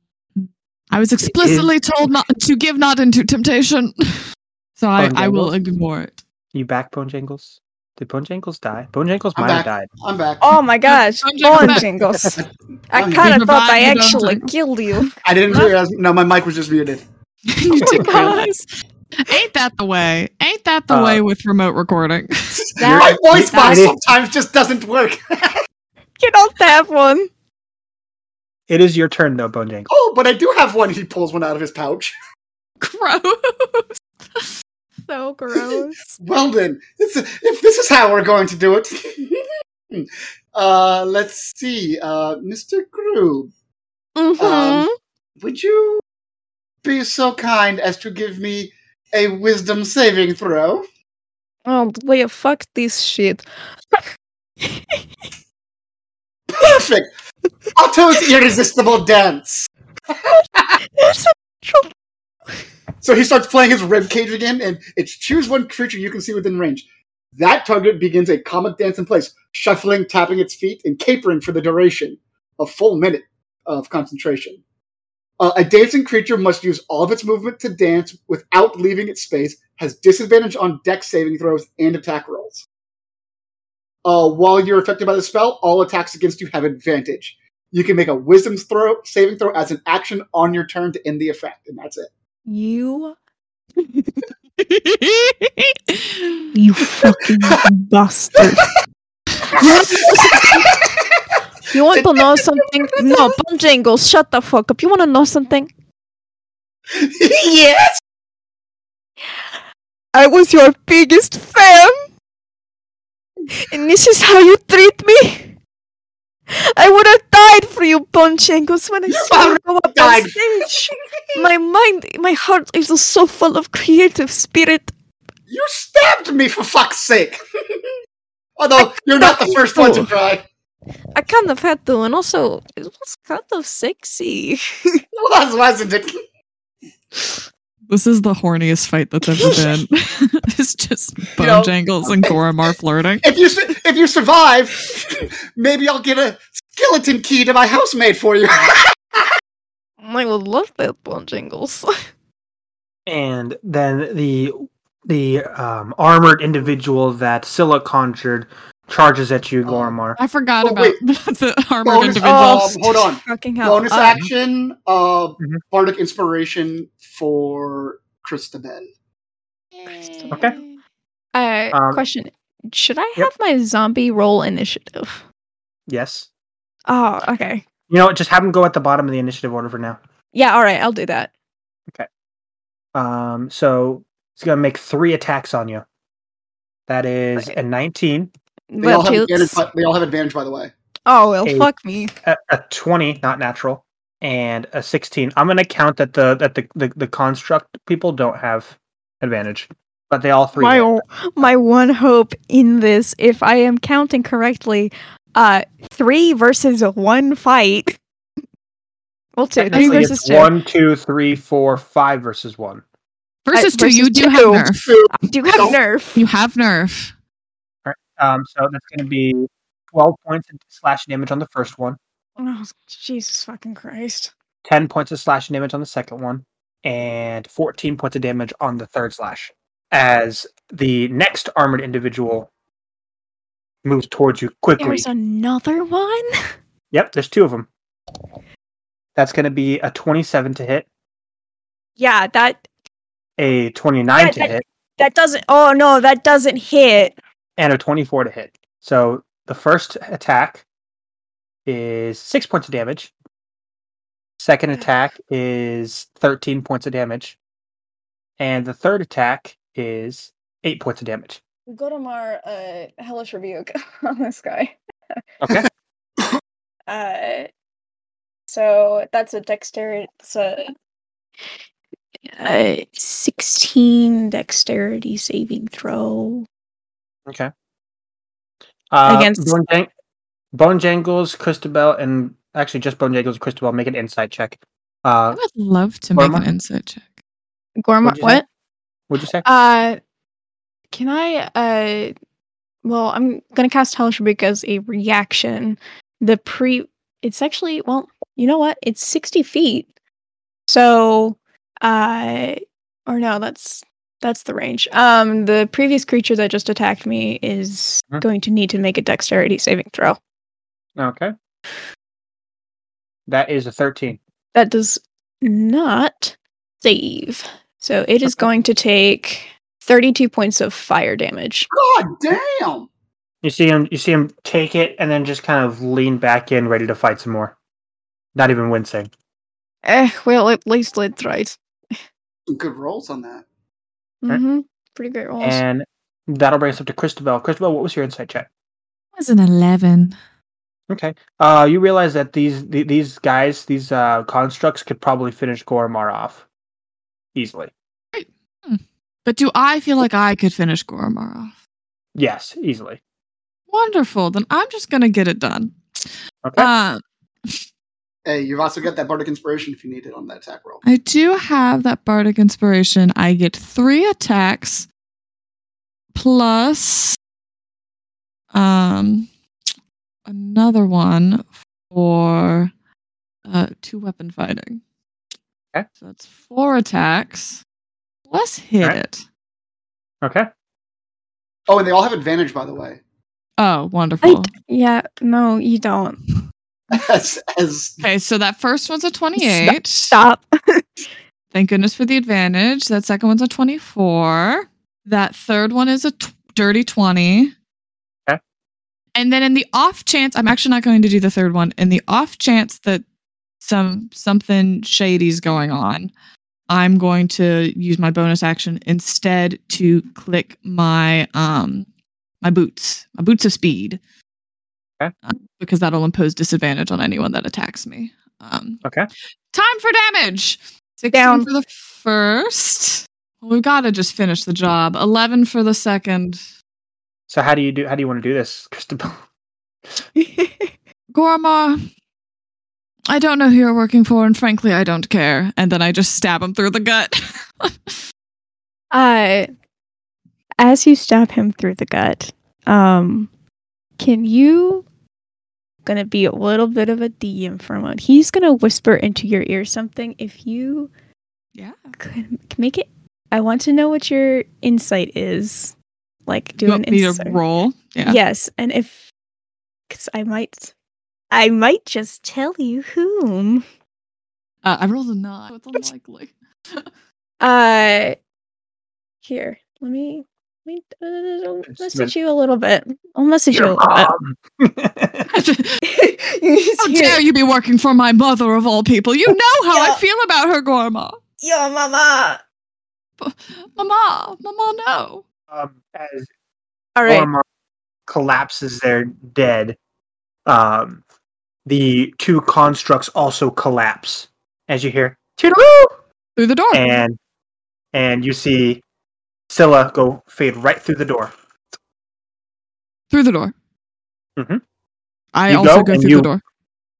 I was explicitly told not to give not into temptation. So I,
Bone
I will
jangles?
ignore it.
You back Bone Jangles? Did Bone Jangles die? Bone Jangles
I'm
might have
back.
died.
I'm back.
Oh my gosh,
I'm doing
Bone
that.
Jingles. I
I'm
kind
doing
of thought
that.
I
You don't
actually
do-
killed you.
I didn't realize. No, my mic was just muted.
you didn't
God.
realize. Ain't that the way? Ain't that the
Uh,
way with remote recording?
my
That,
voice box
that-
sometimes just doesn't work.
you don't have one.
It is your turn, though, Bone Jangles.
oh, but I do have one. He pulls one out of his pouch.
Gross.
Oh,
So gross.
Well then, this is- if this is how we're going to do it, uh, let's see, uh, Mr. Groob,
Mm-hmm.
would you be so kind as to give me a wisdom saving throw?
oh, wait, fuck this shit.
Perfect. Otto's irresistible dance. so he starts playing his rib cage again, and it's choose one creature you can see within range. That target begins a comic dance in place, shuffling, tapping its feet, and capering for the duration, a full minute of concentration. Uh, a dancing creature must use all of its movement to dance without leaving its space, has disadvantage on deck saving throws and attack rolls. Uh, while you're affected by the spell, all attacks against you have advantage. You can make a wisdom throw, saving throw as an action on your turn to end the effect, and that's it.
You
you fucking bastard.
you want to know something? No, Bone Jingles, shut the fuck up. You want to know something?
yes!
I was your biggest fan,
And this is how you treat me? I would have died for you, Bone Jingles, when I saw you go up on
died.
stage. My mind, my heart is so full of creative spirit.
You stabbed me for fuck's sake! Although, you're not the first one to try.
I kind of had to, and also it was kind of sexy.
Well, that wasn't it.
This is the horniest fight that's ever been. it's just bone
know-
jangles and Goramar flirting.
If you su- if you survive, maybe I'll get a skeleton key to my housemate for you.
I would love that Bone Jingles.
Um,
and then the the um, armored individual that Scylla conjured charges at you, Goramar.
I forgot
Oh,
about
wait.
the armored
Bonus, um,
individual.
hold on.
Oh, Fucking hell.
Bonus
Uh,
action, uh,
Mhm.
bardic inspiration for Christabel.
Okay.
Uh,
Um,
question: Should I
yep.
have my zombie roll initiative?
Yes.
Oh, okay.
You know, what, just have him go at the bottom of the initiative order for now.
Yeah, all right, I'll do that.
Um, so he's gonna make three attacks on you. That is a 19,
They,
well,
all have advantage,
toots.
by- they all have advantage, by the way.
Oh well,
Hey.
fuck me.
a, a 20, not natural, and a 16. I'm gonna count that the that the the, the construct people don't have advantage. but they all three.
my
hit.
o- my one hope in this, if I am counting correctly, uh, three versus one fight. Well, two, three
Technically,
versus
it's
two.
one, two, three, four, five versus one.
Versus
I-
two, you
versus
do
two.
have nerf.
I do have nerf.
You have nerf.
Um, so that's going to be twelve points of slash damage on the first one,
Oh, Jesus fucking Christ!
ten points of slash damage on the second one, and fourteen points of damage on the third slash. As the next armored individual moves towards you quickly.
There's another one.
Yep, there's two of them. That's going to be a 27 to hit,
Yeah, that
a 29
Yeah,
to
that-
hit,
That doesn't. Oh no, that doesn't hit.
and a 24 to hit. So the first attack is six points of damage. Second attack is 13 points of damage. And the third attack is eight points of damage.
Go to Mar, uh, hellish rebuke on this guy.
Okay.
Uh, so that's a dexterity. It's a uh, sixteen dexterity saving throw.
Okay. Uh,
Against-
Bone, Jang- Bone Jangles, Christabel, and actually just Bone Jangles, Christabel make an insight check.
I
Uh,
would love to make
Gorma?
an insight check.
What'd
Gorma.
you say?
What?
would you say?
Uh, can I? Uh, well, I'm gonna cast Hellish Rebuke as a reaction. The pre, it's actually well, you know what? It's sixty feet. So, uh, or no, that's that's the range. Um, the previous creature that just attacked me is
Mhm.
going to need to make a Dexterity saving throw.
Okay. That is a 13.
That does not save. So it is going to take thirty-two points of fire damage.
God damn!
You see him you see him take it and then just kind of lean back in ready to fight some more. Not even wincing.
Eh, well, at least it tried.
Some good rolls on that.
Right.
Mm-hmm. Pretty great rolls.
Eh.
And that'll bring us up to Christabel. Christabel, what was your insight check?
It was an 11.
Okay. Uh you realize that these the, these guys, these uh constructs could probably finish Goromar off easily.
But do I feel like I could finish Goromar off?
Yes, easily.
Wonderful. Then I'm just going to get it done.
Okay.
Uh,
Hey, you've also got that bardic inspiration if you need it on that attack roll.
I do have that bardic inspiration. I get three attacks plus um another one for uh two weapon fighting.
Okay.
So that's four attacks. Plus hit
Alright.
it.
okay.
Oh, and they all have advantage, by the way.
Oh, wonderful.
yeah, no, you don't.
As, as
Okay, so that first one's a 28.
Stop.
Thank goodness for the advantage. That second one's a 24. That third one is a t- dirty 20.
Okay.
And then in the off chance, I'm actually not going to do the third one. In the off chance that some something shady's going on, I'm going to use my bonus action instead to click my um my boots, my boots of speed.
Okay.
Uh, because that'll impose disadvantage on anyone that attacks me. Um,
Okay.
Time for damage. 16
Down.
for the first. Well, we've got to just finish the job. 11 for the second.
So how do you do how do you want to do this, Christabel?
Gorma, I don't know who you're working for, and frankly, I don't care. And then I just stab him through the gut.
uh, as you stab him through the gut, um, can you? Gonna be a little bit of a DM for a moment. He's gonna whisper into your ear something. If you
yeah.
could make it, I want to know what your insight is. Like, do
you
an
want me
insight.
to roll? Yeah.
Yes, and if because I might, I might just tell you whom.
Uh, I rolled a 9. so It's unlikely.
Uh, here, let me let me uh,
Just
message you a little bit. I'll message you. A
Your
little
mom.
bit. You just
how
hear,
dare you be working for my mother of all people? You know how
Yeah.
I feel about her, Gorma.
Yo, mama.
Mama, Mama, no.
um, as
All right,
Ormar collapses there dead, um, the two constructs also collapse as you hear "Toodaloo!"
Through the door.
and and you see Scylla go fade right through the door.
Through the door.
Mhm.
I
You
also
go
go,
and
through
you-
the door.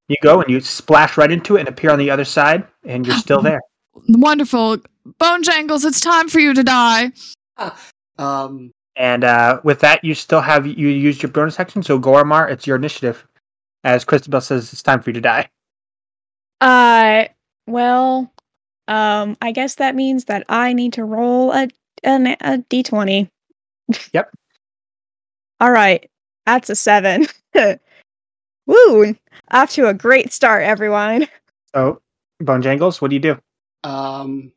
You go and you splash right into it and appear on the other side, and you're still there.
Wonderful. Bone Jangles, it's time for you to die.
Um,
And uh, with that, you still have you used your bonus action. So Goramar, it's your initiative. As Christabel says, it's time for you to die.
Uh, well, um, I guess that means that I need to roll a an, a d twenty.
Yep.
All right, that's a seven. Woo! Off to a great start, everyone.
So Bone Jangles, what do you do?
um,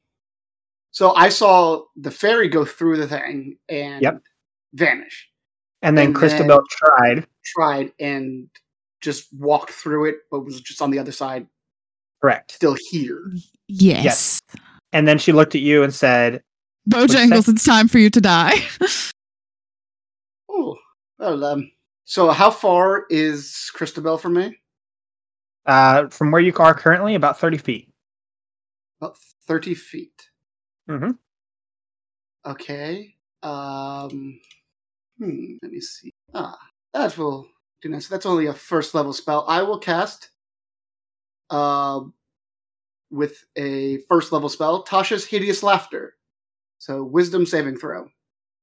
so I saw the fairy go through the thing and
Yep.
vanish.
And then
And
Christabel
then-
tried.
Tried and just walked through it, but was just on the other side,
Correct.
still here.
Yes.
Yes. And then she looked at you and said,
Bojangles, it's time for you to die.
Oh, well, um, so how far is Christabel from me?
uh, from where you are currently, about 30 feet.
About 30 feet.
Mhm.
Okay. Um, hmm, let me see. Ah, that will do nice. That's only a first level spell. I will cast um, with a first level spell Tasha's Hideous Laughter. So, wisdom saving throw.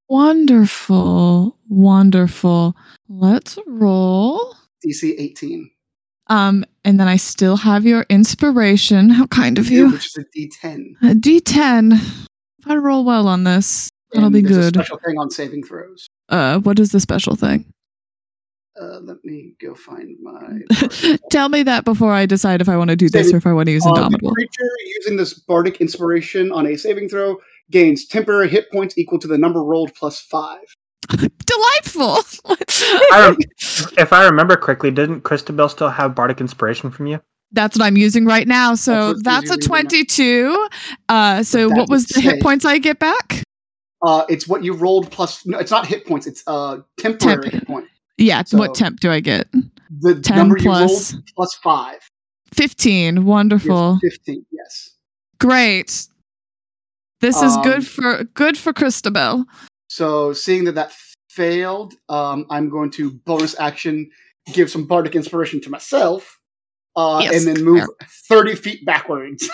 wonderful. Wonderful. Let's roll.
DC 18.
Um, and then I still have your inspiration. How kind of you.
Which is a D10.
A D10. If I roll well on this, that'll
And
be
there's a
good.
special thing on saving throws.
Uh, what is the special thing?
Uh, let me go find my.
Tell me that before I decide if I want to do this
Same.
or if I want to use
Uh,
Indomitable.
The creature using this bardic inspiration on a saving throw gains temporary hit points equal to the number rolled plus five.
Delightful.
I rem- if I remember correctly, didn't Christabel still have Bardic Inspiration from you?
that's what I'm using right now. So
what
that's,
you're
a
using right now.
22. Uh, so
That
what was
would
the hit
save.
points I get back?
Uh, it's what you rolled plus. No, it's not hit points. It's uh temporary
Temp.
hit point.
Yeah.
So-
what temp do I get?
The
10
number
plus
you rolled plus five.
15.
is
Wonderful.
Fifteen. Yes.
Great. This is
Um,
good for good for Christabel.
So seeing that that failed, um, I'm going to bonus action give some bardic inspiration to myself, uh,
Yes.
and then move thirty feet backwards.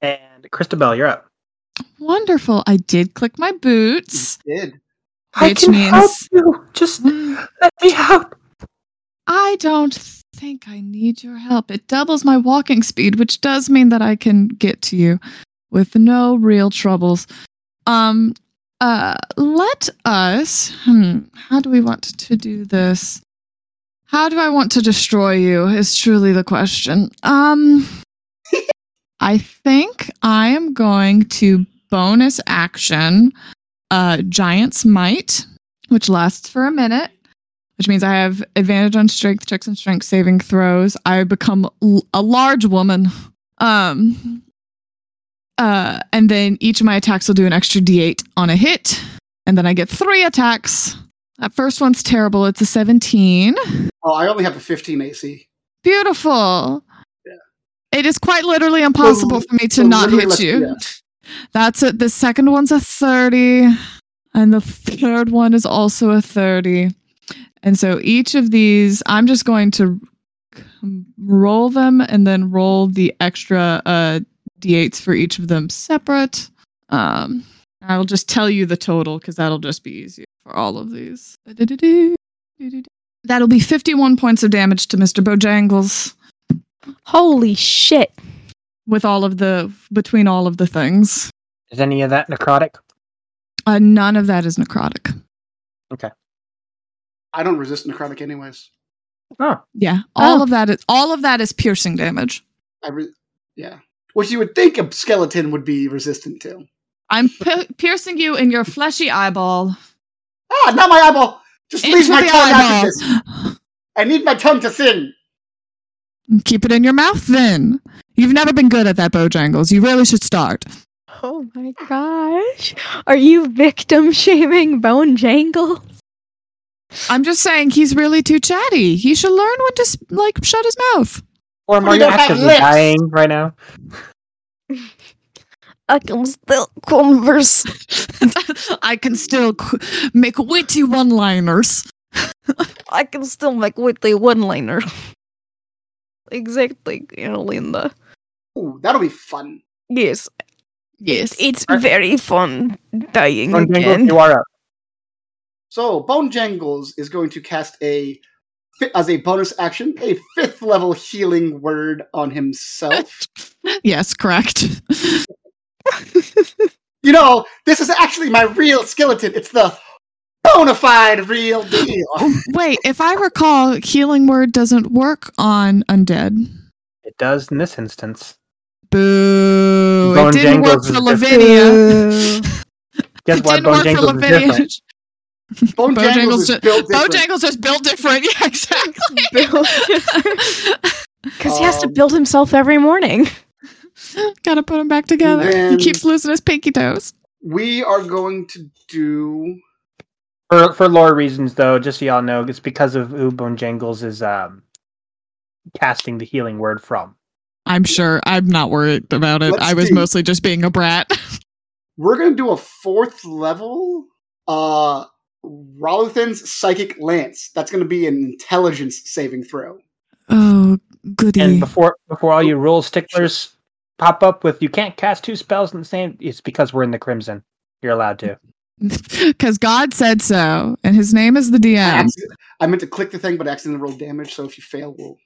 And Christabel, you're up.
Wonderful. I did click my boots.
Did
I
Which
can help
means-
you. Just let me out.
I don't think I need your help. It doubles my walking speed, which does mean that I can get to you with no real troubles. Um uh let us hmm, how do we want to do this? How do I want to destroy you is truly the question. Um I think I am going to bonus action uh Giant's Might, which lasts for a minute which means I have advantage on strength checks and strength saving throws. I become l- a large woman. Um, uh, and then each of my attacks will do an extra d8 on a hit. And then I get three attacks. That first one's terrible. It's a 17.
oh, I only have a fifteen AC.
Beautiful.
Yeah.
It is quite literally impossible for me to
so
not
literally
hit
let's-
you.
yeah.
That's it. The second one's a 30, and the third one is also a 30. And so each of these, I'm just going to c- roll them and then roll the extra uh, d8s for each of them separate. Um, I'll just tell you the total because that'll just be easier for all of these. Da-da-da-doo, do-do-do. That'll be 51 points of damage to Mr. Bojangles
Holy shit!
with all of the between all of the things.
Is any of that necrotic?
Uh, none of that is necrotic.
I don't resist necrotic anyways.
Yeah, all
Oh.
of that is all of that is piercing damage.
I re- yeah. Which you would think a skeleton would be resistant to.
I'm pi piercing you in your fleshy eyeball.
Ah, not my eyeball! Just leave
Into
my
the
tongue out of this!
eyeball.
I need my tongue to sing!
Keep it in your mouth then. You've never been good at that, Bojangles. You really should start.
Oh my gosh! Are you victim shaming Bone Jangle?
I'm just saying he's really too chatty. He should learn when to s- like shut his mouth.
Or
We
are you
don't have
actively
lips.
dying right now?
I can still converse.
I can still qu- make witty one-liners.
I can still make witty one-liner. exactly, Erlinda.
Ooh, that'll be fun.
Yes,
Yes.
it's very fun dying
Bone Jangles,
again.
you are up.
So Bone Jangles is going to cast a fi- as a bonus action a fifth level healing word on himself.
Yes, correct.
you know, this is actually my real skeleton. It's the bona fide real deal.
Wait, if I recall, healing word doesn't work on undead.
It does in this instance.
Boo!
Bone
it didn't work
Jangles
for
is
Lavinia.
Guess what?
it
Bone
didn't work for
Jangles is
Lavinia.
different.
Bone
Bone
Jangles
Jangles
is
ju-
built
Bone
different.
Jangles is built different. Yeah, exactly.
Because he has to
Um,
build himself every morning.
Gotta put him back together. He
Then-
keeps losing his pinky toes.
we are going to do
For for lore reasons, though, just so y'all know, it's because of who Bone Jangles is um casting the healing word from.
I'm sure. I'm not worried about it.
Let's
I was
see.
mostly just being a brat.
we're going to do a fourth level uh Rolithan's psychic lance. That's going to be an intelligence saving throw.
Oh, goody.
And before before all you rule sticklers pop up with you can't cast two spells in the same, it's because we're in the Crimson. You're allowed to.
Because God said so, and his name is the
I,
DM.
accident- I meant to click the thing, but I accidentally rolled damage. So if you fail, we'll.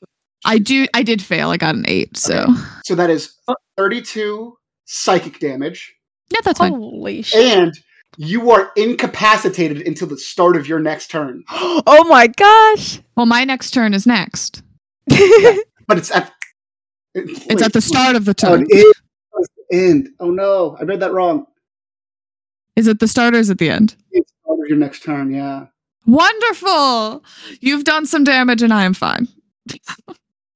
I do. I did fail. I got an eight. So
So that is 32 psychic damage,
yeah, that's fine.
Holy shit.
and you are incapacitated until the start of your next turn.
oh my gosh!
Well, my next turn is next.
But it's at.
It's at the start of the
Oh,
turn.
it is towards the end. Oh no, I read that wrong.
Is it the start or is it the end?
It's the start of your next turn. Yeah.
Wonderful! You've done some damage, and I am fine.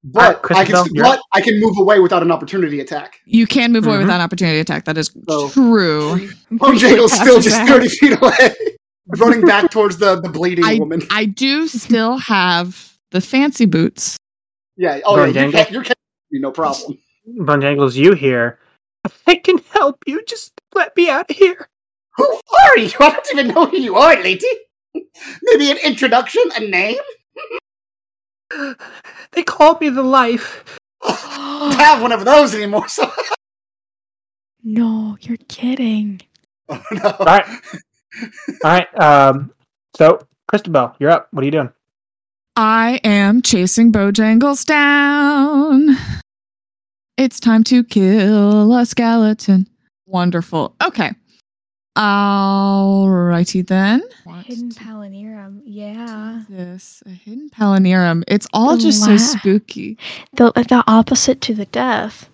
But I can.
Christabel,
st-
you're
But I can move away without an opportunity attack.
You can move away
Mhm.
with an opportunity attack. That is
So-
true.
Bone Jangle's still just
After
thirty
that.
feet away, running back towards the the bleeding woman.
I do still have the fancy boots.
Yeah. Oh,
Bone
yeah, you're,
Jangle?
ca- you're ca- no problem.
Bone Jangles, you here. I can help you. Just let me out of here.
Who are you? I don't even know who you are, lady. Maybe an introduction, a name?
They called me the life.
I don't have one of those anymore. So
No, you're kidding.
oh, no.
All right. All right. Um, so, Christabel, you're up. What are you doing?
I am chasing Bojangles down. It's time to kill a skeleton. Wonderful. Okay. Alrighty then.
Hidden Palanirum, yeah.
This a hidden palanirum. It's all just so
Wow.
spooky.
The, the opposite to the death.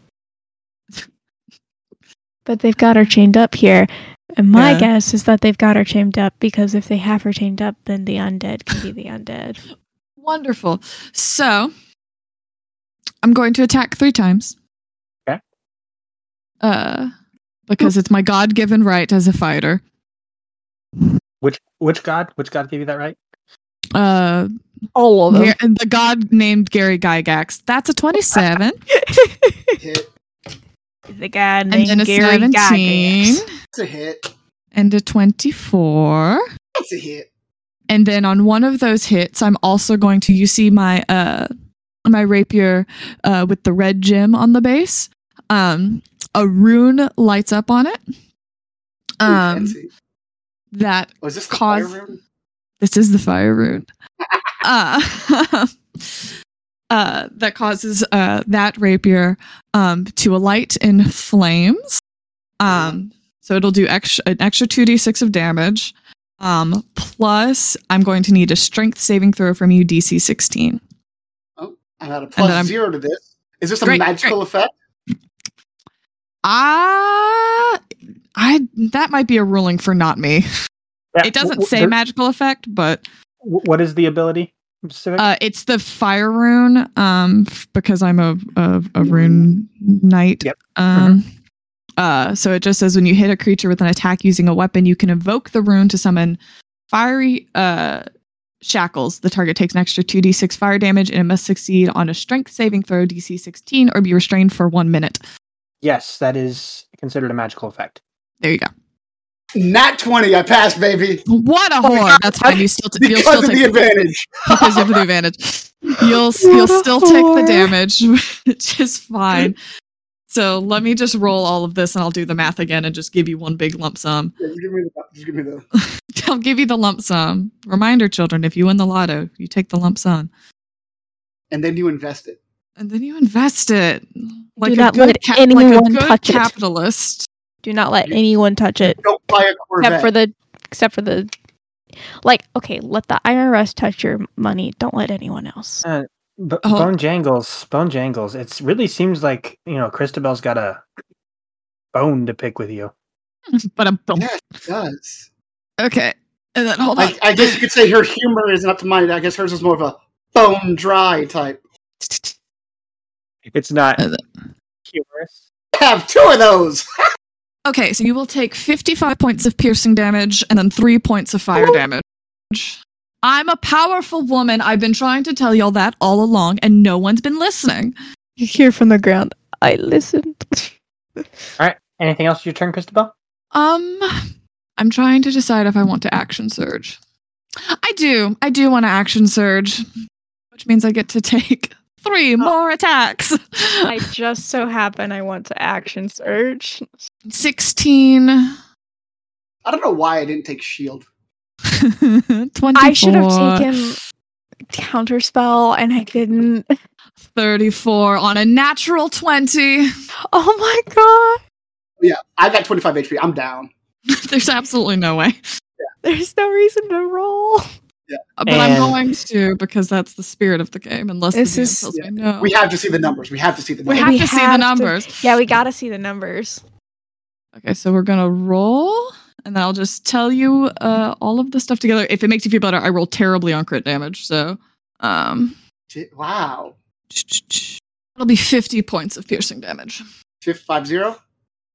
but they've got her chained up here. And my
Yeah.
guess is that they've got her chained up because if they have her chained up, then the undead can be the undead.
Wonderful. So I'm going to attack three times.
Okay.
Uh because it's my God given right as a fighter.
Which which god? Which god gave you that right?
Uh
All of them.
Gar- the god named Gary Gygax. That's a 27.
Hit.
The guy
and then a 17.
It's a hit.
And a 24.
It's a hit.
And then on one of those hits, I'm also going to, you see my, uh, my rapier uh, with the red gem on the base. Um, a rune lights up on it.
Ooh,
Um,
fancy.
that
Oh, is this the
cause-
fire room?
this is the fire rune uh, uh, that causes uh, that rapier um, to alight in flames um, so it'll do extra, an extra 2d6 of damage um, plus i'm going to need a strength saving throw from you dc 16
I'm at a
then
plus
I'm-
zero to this. Is this a
Great,
magical effect?
ah i that might be a ruling for not me
Yeah,
it doesn't
wh- wh-
say
there-
magical effect but
wh- What is the ability? Specific?
Uh, it's the fire rune, um, f- because I'm a a, a rune knight.
Yep.
Um,
Mm-hmm.
uh, so it just says when you hit a creature with an attack using a weapon, you can evoke the rune to summon fiery uh shackles. The target takes an extra two d six fire damage, and it must succeed on a strength saving throw DC sixteen or be restrained for one minute.
yes, that is considered a magical effect.
There you go.
Nat 20, I passed, baby.
What a whore! That's fine. You still t- you'll
Oh Because
still
of
take
the advantage.
because you have the advantage. You'll you'll still take the damage, which is fine. So let me just roll all of this, and I'll do the math again, and just give you one big lump sum.
Yeah, Just give me the. Just give me the.
I'll give you the lump sum. Reminder, children: if you win the lotto, you take the lump sum,
And then you invest it.
and then you invest it like a
not
good,
let
ca- like a
anyone
good
touch it.
capitalist.
Do not let anyone touch it.
Don't buy a Corvette.
Except for the except for the like, okay, let the IRS touch your money. Don't let anyone else.
B-
Oh.
Bone jangles, bone jangles. It really seems like you know Christabel's got a bone to pick with you.
But I'm
yes, it does.
okay. And then hold on.
I, I guess you could say her humor isn't up to mine. I guess hers is more of a bone dry type.
It's not
Uh,
humorous.
I have two of those.
Okay, so you will take 55 points of piercing damage and then 3 points of fire damage. I'm a powerful woman. I've been trying to tell y'all that all along, and no one's been listening.
You hear from the ground. I listened.
Anything else? Your turn, Christabel.
Um, I'm trying to decide if I want to action surge. I do. I do want to action surge, which means I get to take
Oh.
three more attacks.
I just so happen I want to action surge.
16,
I don't know why I E didn't take shield.
24,
I should have taken counterspell and I didn't.
34 on a natural 20.
Oh my god.
Yeah, I got 25 HP. I'm down.
There's absolutely no way.
There's no reason to roll.
Uh, But I'm
And-
going to because that's the spirit of the game. Unless
This
the DM
is-
tells me no,
We have to see the numbers. We have to see the
We
numbers.
have to see the numbers.
Yeah, we gotta see the numbers.
okay, so we're gonna roll, and then I'll just tell you uh, all of the stuff together. If it makes you feel better, I roll terribly on crit damage, so um,
J- wow.
it'll be 50 points of piercing damage.
550.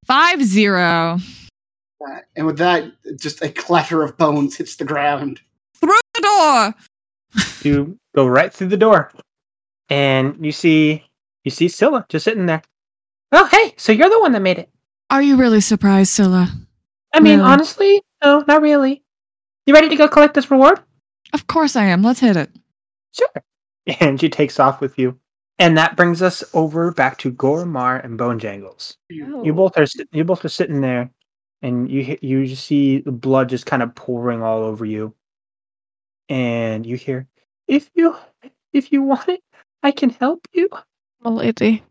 Five zero
Uh, and with that, just a clatter of bones hits the ground.
through the door.
You go right through the door, and you see you see Scylla just sitting there. Oh, hey! So you're the one that made it.
Are you really surprised, Scylla?
I mean,
No.
honestly, no, not really. You ready to go collect this reward?
Of course I am. Let's hit it.
Sure. And she takes off with you. And that brings us over back to Gormar and Bone Jangles.
Oh,
You both are sit- you both are sitting there, and you he- you just see the blood just kind of pouring all over you, and you hear, "If you if you want it, I can help you."
My lady,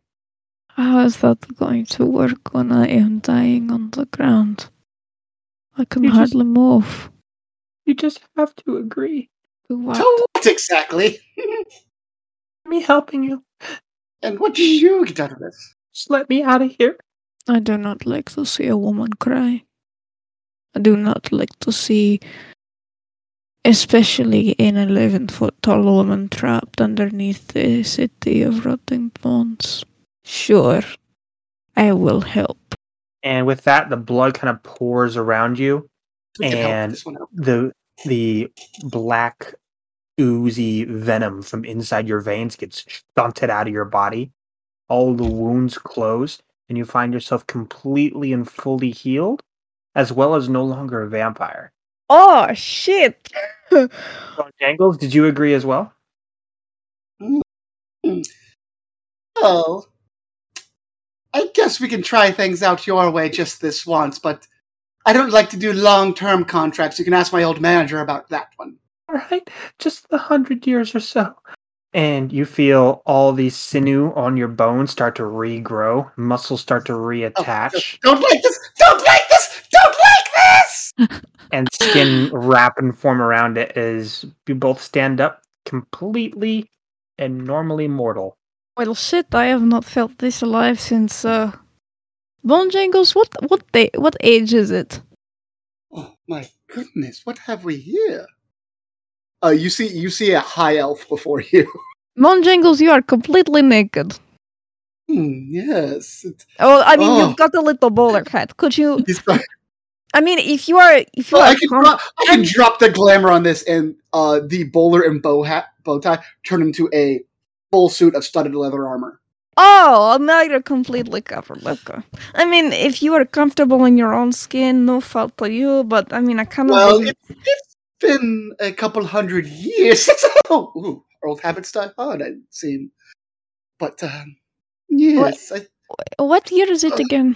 how is that going to work when I am dying on the ground? I can
You just-
hardly move.
You just have to agree.
To what?
So what exactly?
Me helping you.
and what do you get out of this?
Just let me out of here.
I do not like to see a woman cry. I do not like to see, especially an 11 foot tall woman trapped underneath a city of rotting bones. Sure, I will help.
And with that, the blood kind of pours around you,
We can help
And-
this one out.
the the black oozy venom from inside your veins gets shunted out of your body all the wounds close and you find yourself completely and fully healed as well as no longer a vampire
Oh shit!
Bone jangles did you agree as well
Oh, I guess we can try things out your way just this once, but I don't like to do long term contracts. You can ask my old manager about that one.
all right just the hundred years or so and you feel all the sinew on your bones start to regrow muscles start to
Oh,
reattach
don't like this! Don't like this! Don't like this!
and skin wrap and form around it as you both stand up completely and normally mortal.
Well, shit! I have not felt this alive since. Uh, Bone Jangles, what what day, what age is it?
Oh my goodness! What have we here? Uh, you see, you see a high elf before you.
Bone Jangles, you are completely naked.
Hmm, yes, It-
Oh, I mean,
Oh.
you've got a little bowler hat. Could you?
he's got-
I mean, if you are, if you
Well,
are,
Oh, I can drop, I can drop the glamour on this, and uh, the bowler and bow hat bow tie turn into a full suit of studded leather armor.
Oh, well, now you're completely covered. Okay. I mean, if you are comfortable in your own skin, no fault to you. But I mean, I kind of
Well, it, it's been a couple hundred years since oh, ooh, old habits die hard. It seems, but um, yes, I,
what year is
Uh,
it again?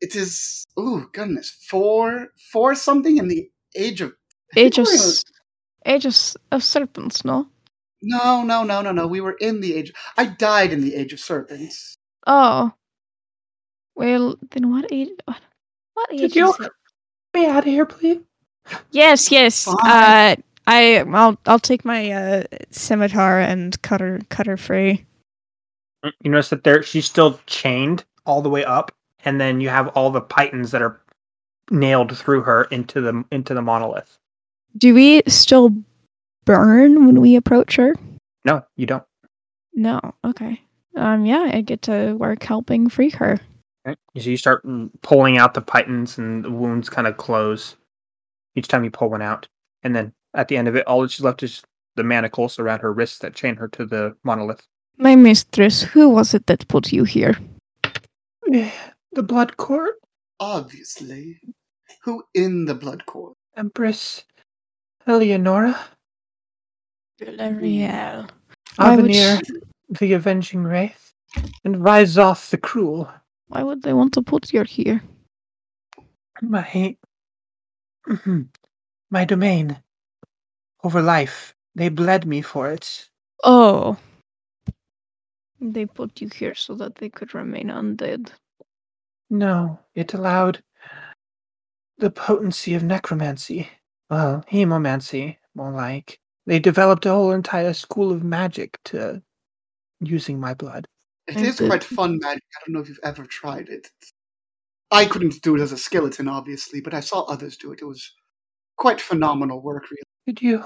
it is. Oh goodness, four four something in the age of I think
Age of
we're in-
s- Age of, s- of serpents, no?
No, no, no, no, no. We were in the age. I died in the age of serpents.
Oh. Well, then what age? What, what age?
you-
is it?
me out of here, please.
Yes, yes. Uh, I I'll I'll take my uh, scimitar and cut her cut her free.
You notice that there she's still chained all the way up, and then you have all the pythons that are nailed through her into the into the monolith.
Do we still burn when we approach her?
No, you don't.
No. Okay. Um. Yeah, I get to work helping free her.
Okay. So you start mm, pulling out the pythons, and the wounds kind of close each time you pull one out. And then at the end of it, all that's left is the manacles around her wrists that chain her to the monolith.
My mistress, who was it that put you here?
The blood court,
Obviously, who in the blood core?
Empress Eleonora,
L'Oreal. Why would
Avenir,
she-
the avenging wraith, and Vizoth the cruel.
Why would they want to put you here?
my my domain over life. They bled me for it.
Oh. They put you here so that they could remain undead.
No, it allowed the potency of necromancy. Well, hemomancy, more like. They developed a whole entire school of magic to using my blood.
It is quite fun magic. I don't know if you've ever tried it. I couldn't do it as a skeleton, obviously, but I saw others do it. It was quite phenomenal work, really.
Could you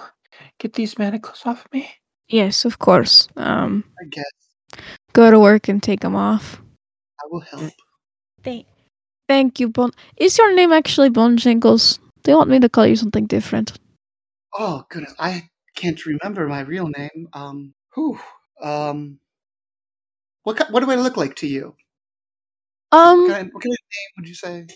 get these manacles off me?
Yes, of course. Um,
I guess
go to work and take them off.
I will help.
Thank.
Thank you, Bon. Is your name actually Bonjingles? They want me to call you something different.
Oh goodness, I can't remember my real name. Um, who? Um, what? ki- What do I look like to you? What
Um,
kind, what kind of name would you say?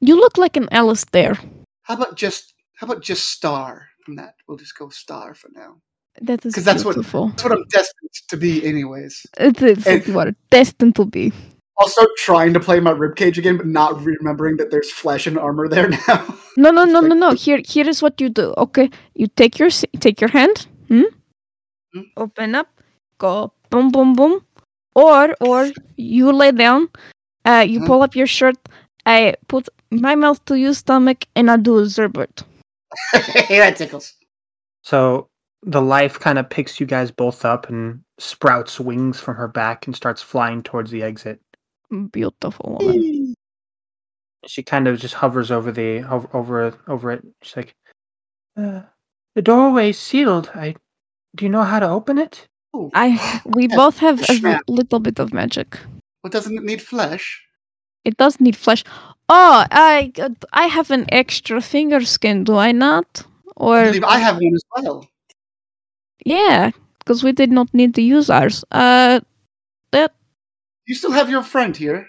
you look like an Alice there.
How about just? How about just Star from that? We'll just go Star for now.
That is
'Cause that's what-
beautiful.
That's what I'm destined to be, anyways.
It is what you are destined to be.
I'll start trying to play my ribcage again, but not remembering that there's flesh and armor there now.
No, no, no, no, no. Here, here is what you do. Okay, you take your s- take your hand. Hmm?
Hmm?
Open up. Go boom, boom, boom. Or or you lay down. Uh, you
Hmm?
pull up your shirt. I put my mouth to your stomach, and I do a zerbert.
that tickles.
So the life kind of picks you guys both up and sprouts wings from her back and starts flying towards the exit.
Beautiful woman.
she kind of just hovers over the over over, over it. She's like, uh, "The doorway's sealed. I do you know how to open it?
Ooh.
I we both have a
Snap.
little bit of magic.
Well, doesn't it need flesh?
It does need flesh. Oh, I I have an extra finger skin, do I not?
I
Or
believe I have one as well.
Yeah, because we did not need to use ours. Uh, that
You still have your friend here.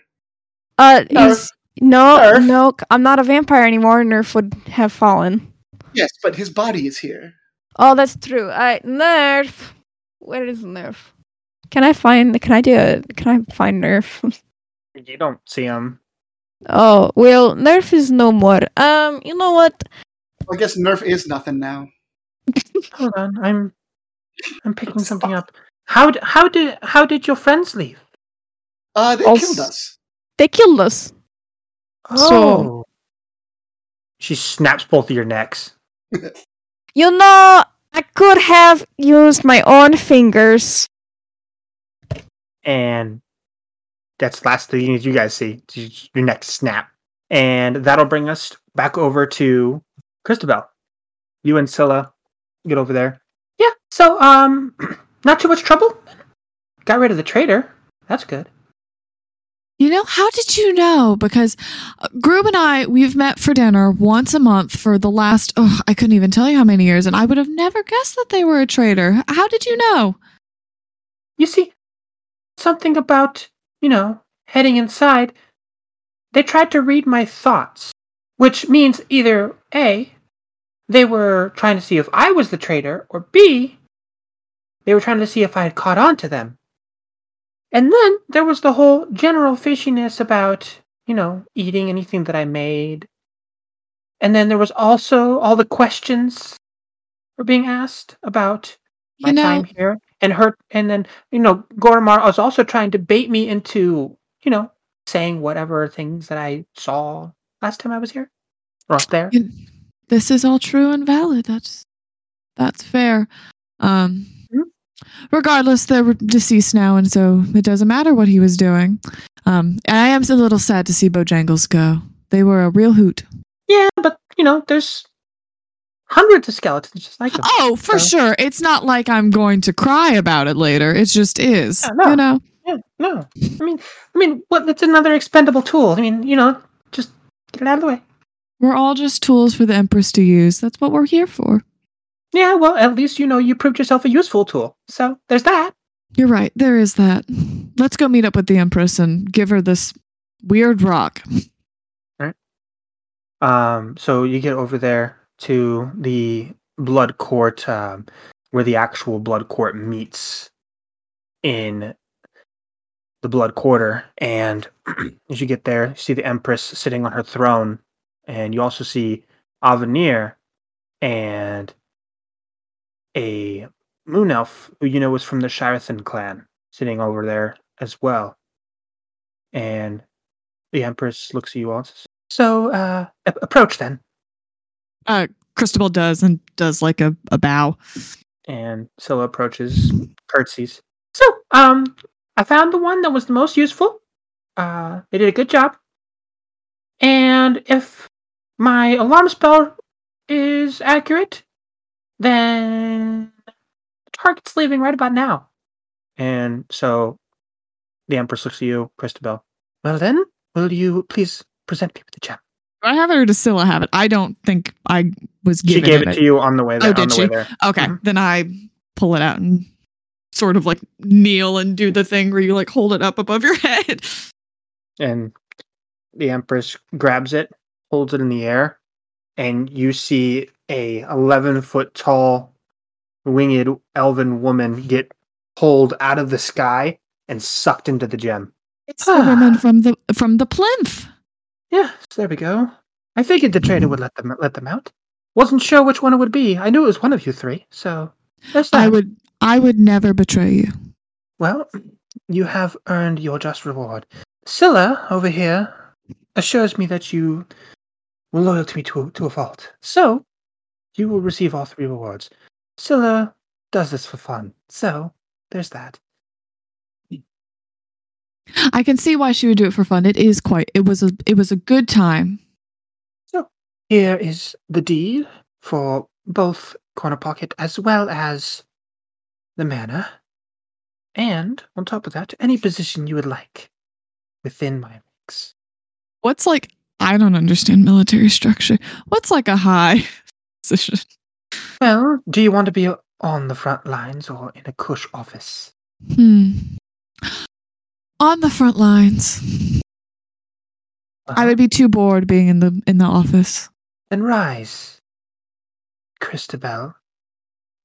uh, he's, no,
Nerf.
no, c- I'm not a vampire anymore. Nerf would have fallen.
Yes, but his body is here.
Oh, that's true. I Nerf. Where is Nerf? Can I find? Can I do a? Can I find Nerf?
You don't see him.
oh well, Nerf is no more. Um, you know what?
I guess Nerf is nothing now.
Hold on, I'm I'm picking something up. How d- how did how did your friends leave?
Uh, they
I'll
killed
s-
us.
They killed us. So-
she snaps both of your necks.
You know, I could have used my own fingers.
and that's the last thing you guys see y- your next snap and that'll bring us back over to christabel you and scylla get over there yeah so um not too much trouble got rid of the traitor that's good
You know, how did you know? Because uh, Groob and I, we've met for dinner once a month for the last, oh, I couldn't even tell you how many years, and I would have never guessed that they were a traitor. How did you know?
you see something about, you know, heading inside. They tried to read my thoughts, which means either A, they were trying to see if I was the traitor, or B, they were trying to see if I had caught on to them. And then there was the whole general fishiness about, you know, eating anything that I made. And then there was also all the questions were being asked about my
You know-
time here and her and then, you know, Gormar was also trying to bait me into, you know, saying whatever things that I saw last time I was here. Or up there.
You- this is all true and valid. That's that's fair. Um, regardless, they're deceased now, and so it doesn't matter what he was doing. Um, and I am a little sad to see Bojangles go. They were a real hoot.
Yeah, but you know, there's hundreds of skeletons just like them.
Oh, for
So-
sure. It's not like I'm going to cry about it later. It just is.
Yeah, no.
You know.
Yeah, no. I mean, I mean, what? That's another expendable tool. I mean, you know, just get it out of the way.
We're all just tools for the Empress to use. That's what we're here for.
Yeah, well, at least you know you proved yourself a useful tool. So there's that.
You're right. There is that. Let's go meet up with the Empress and give her this weird rock.
Um, so you get over there to the blood court, um, where the actual blood court meets in the blood quarter, and as you get there, you see the Empress sitting on her throne, and you also see Avenir and a moon elf who you know was from the Sharathan clan sitting over there as well. And the Empress looks at you all and says, so uh a- approach then
Uh, Cristobal does and does like a, a bow.
and scylla approaches curtsies so um i found the one that was the most useful uh they did a good job and if my alarm spell is accurate then the target's leaving right about now and so the empress looks at you christabel well then will you please present me with the gem
Do I have it or does Scylla have it? I don't think I was
she
given
gave it to you on the way there
Oh,
on
did
the
she?
way there
Okay,
Mhm.
then I pull it out and sort of like kneel and do the thing where you like hold it up above your head.
and the empress grabs it holds it in the air and you see a 11 foot tall winged elven woman get pulled out of the sky and sucked into the gem
It's
Ah.
the woman from the from the plinth.
yeah so there we go i figured the trader would let them let them out wasn't sure which one it would be i knew it was one of you three so there's that
I would I would never betray you.
Well, you have earned your just reward. Scylla, over here, assures me that you were loyal to me to a, to a fault. So, you will receive all three rewards. Scylla does this for fun. So, there's that.
I can see why she would do it for fun. It is quite it was a it was a good time.
Here is the deed for both Corner Pocket as well as the manor. And, on top of that, any position you would like within my ranks.
What's like I don't understand military structure. What's like a high position?
Well, do you want to be on the front lines or in a cush office?
Hmm. On the front lines. I would be too bored being in the in the office.
Then rise, Christabel,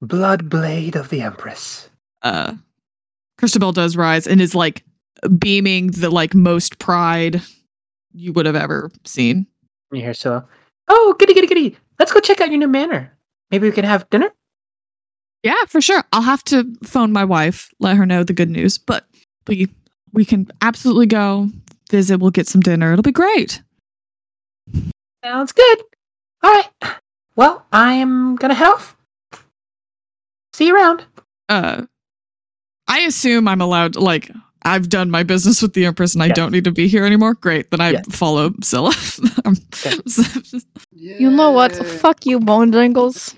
blood blade of the Empress.
uh Christabel does rise and is like beaming the like most pride you would have ever seen.
You hear so? Oh, goody, goody, goody! Let's go check out your new manor. Maybe we can have dinner.
Yeah, for sure. I'll have to phone my wife, let her know the good news, but we we can absolutely go visit, we'll get some dinner. It'll be great.
Sounds good. All right. Well, I'm gonna head off. See you around.
Uh I assume I'm allowed like I've done my business with the Empress and I
Yes.
don't need to be here anymore. Great. Then I
Yes.
follow Scylla. Um,
Okay.
so-
You know what? Fuck you, Bone Jangles.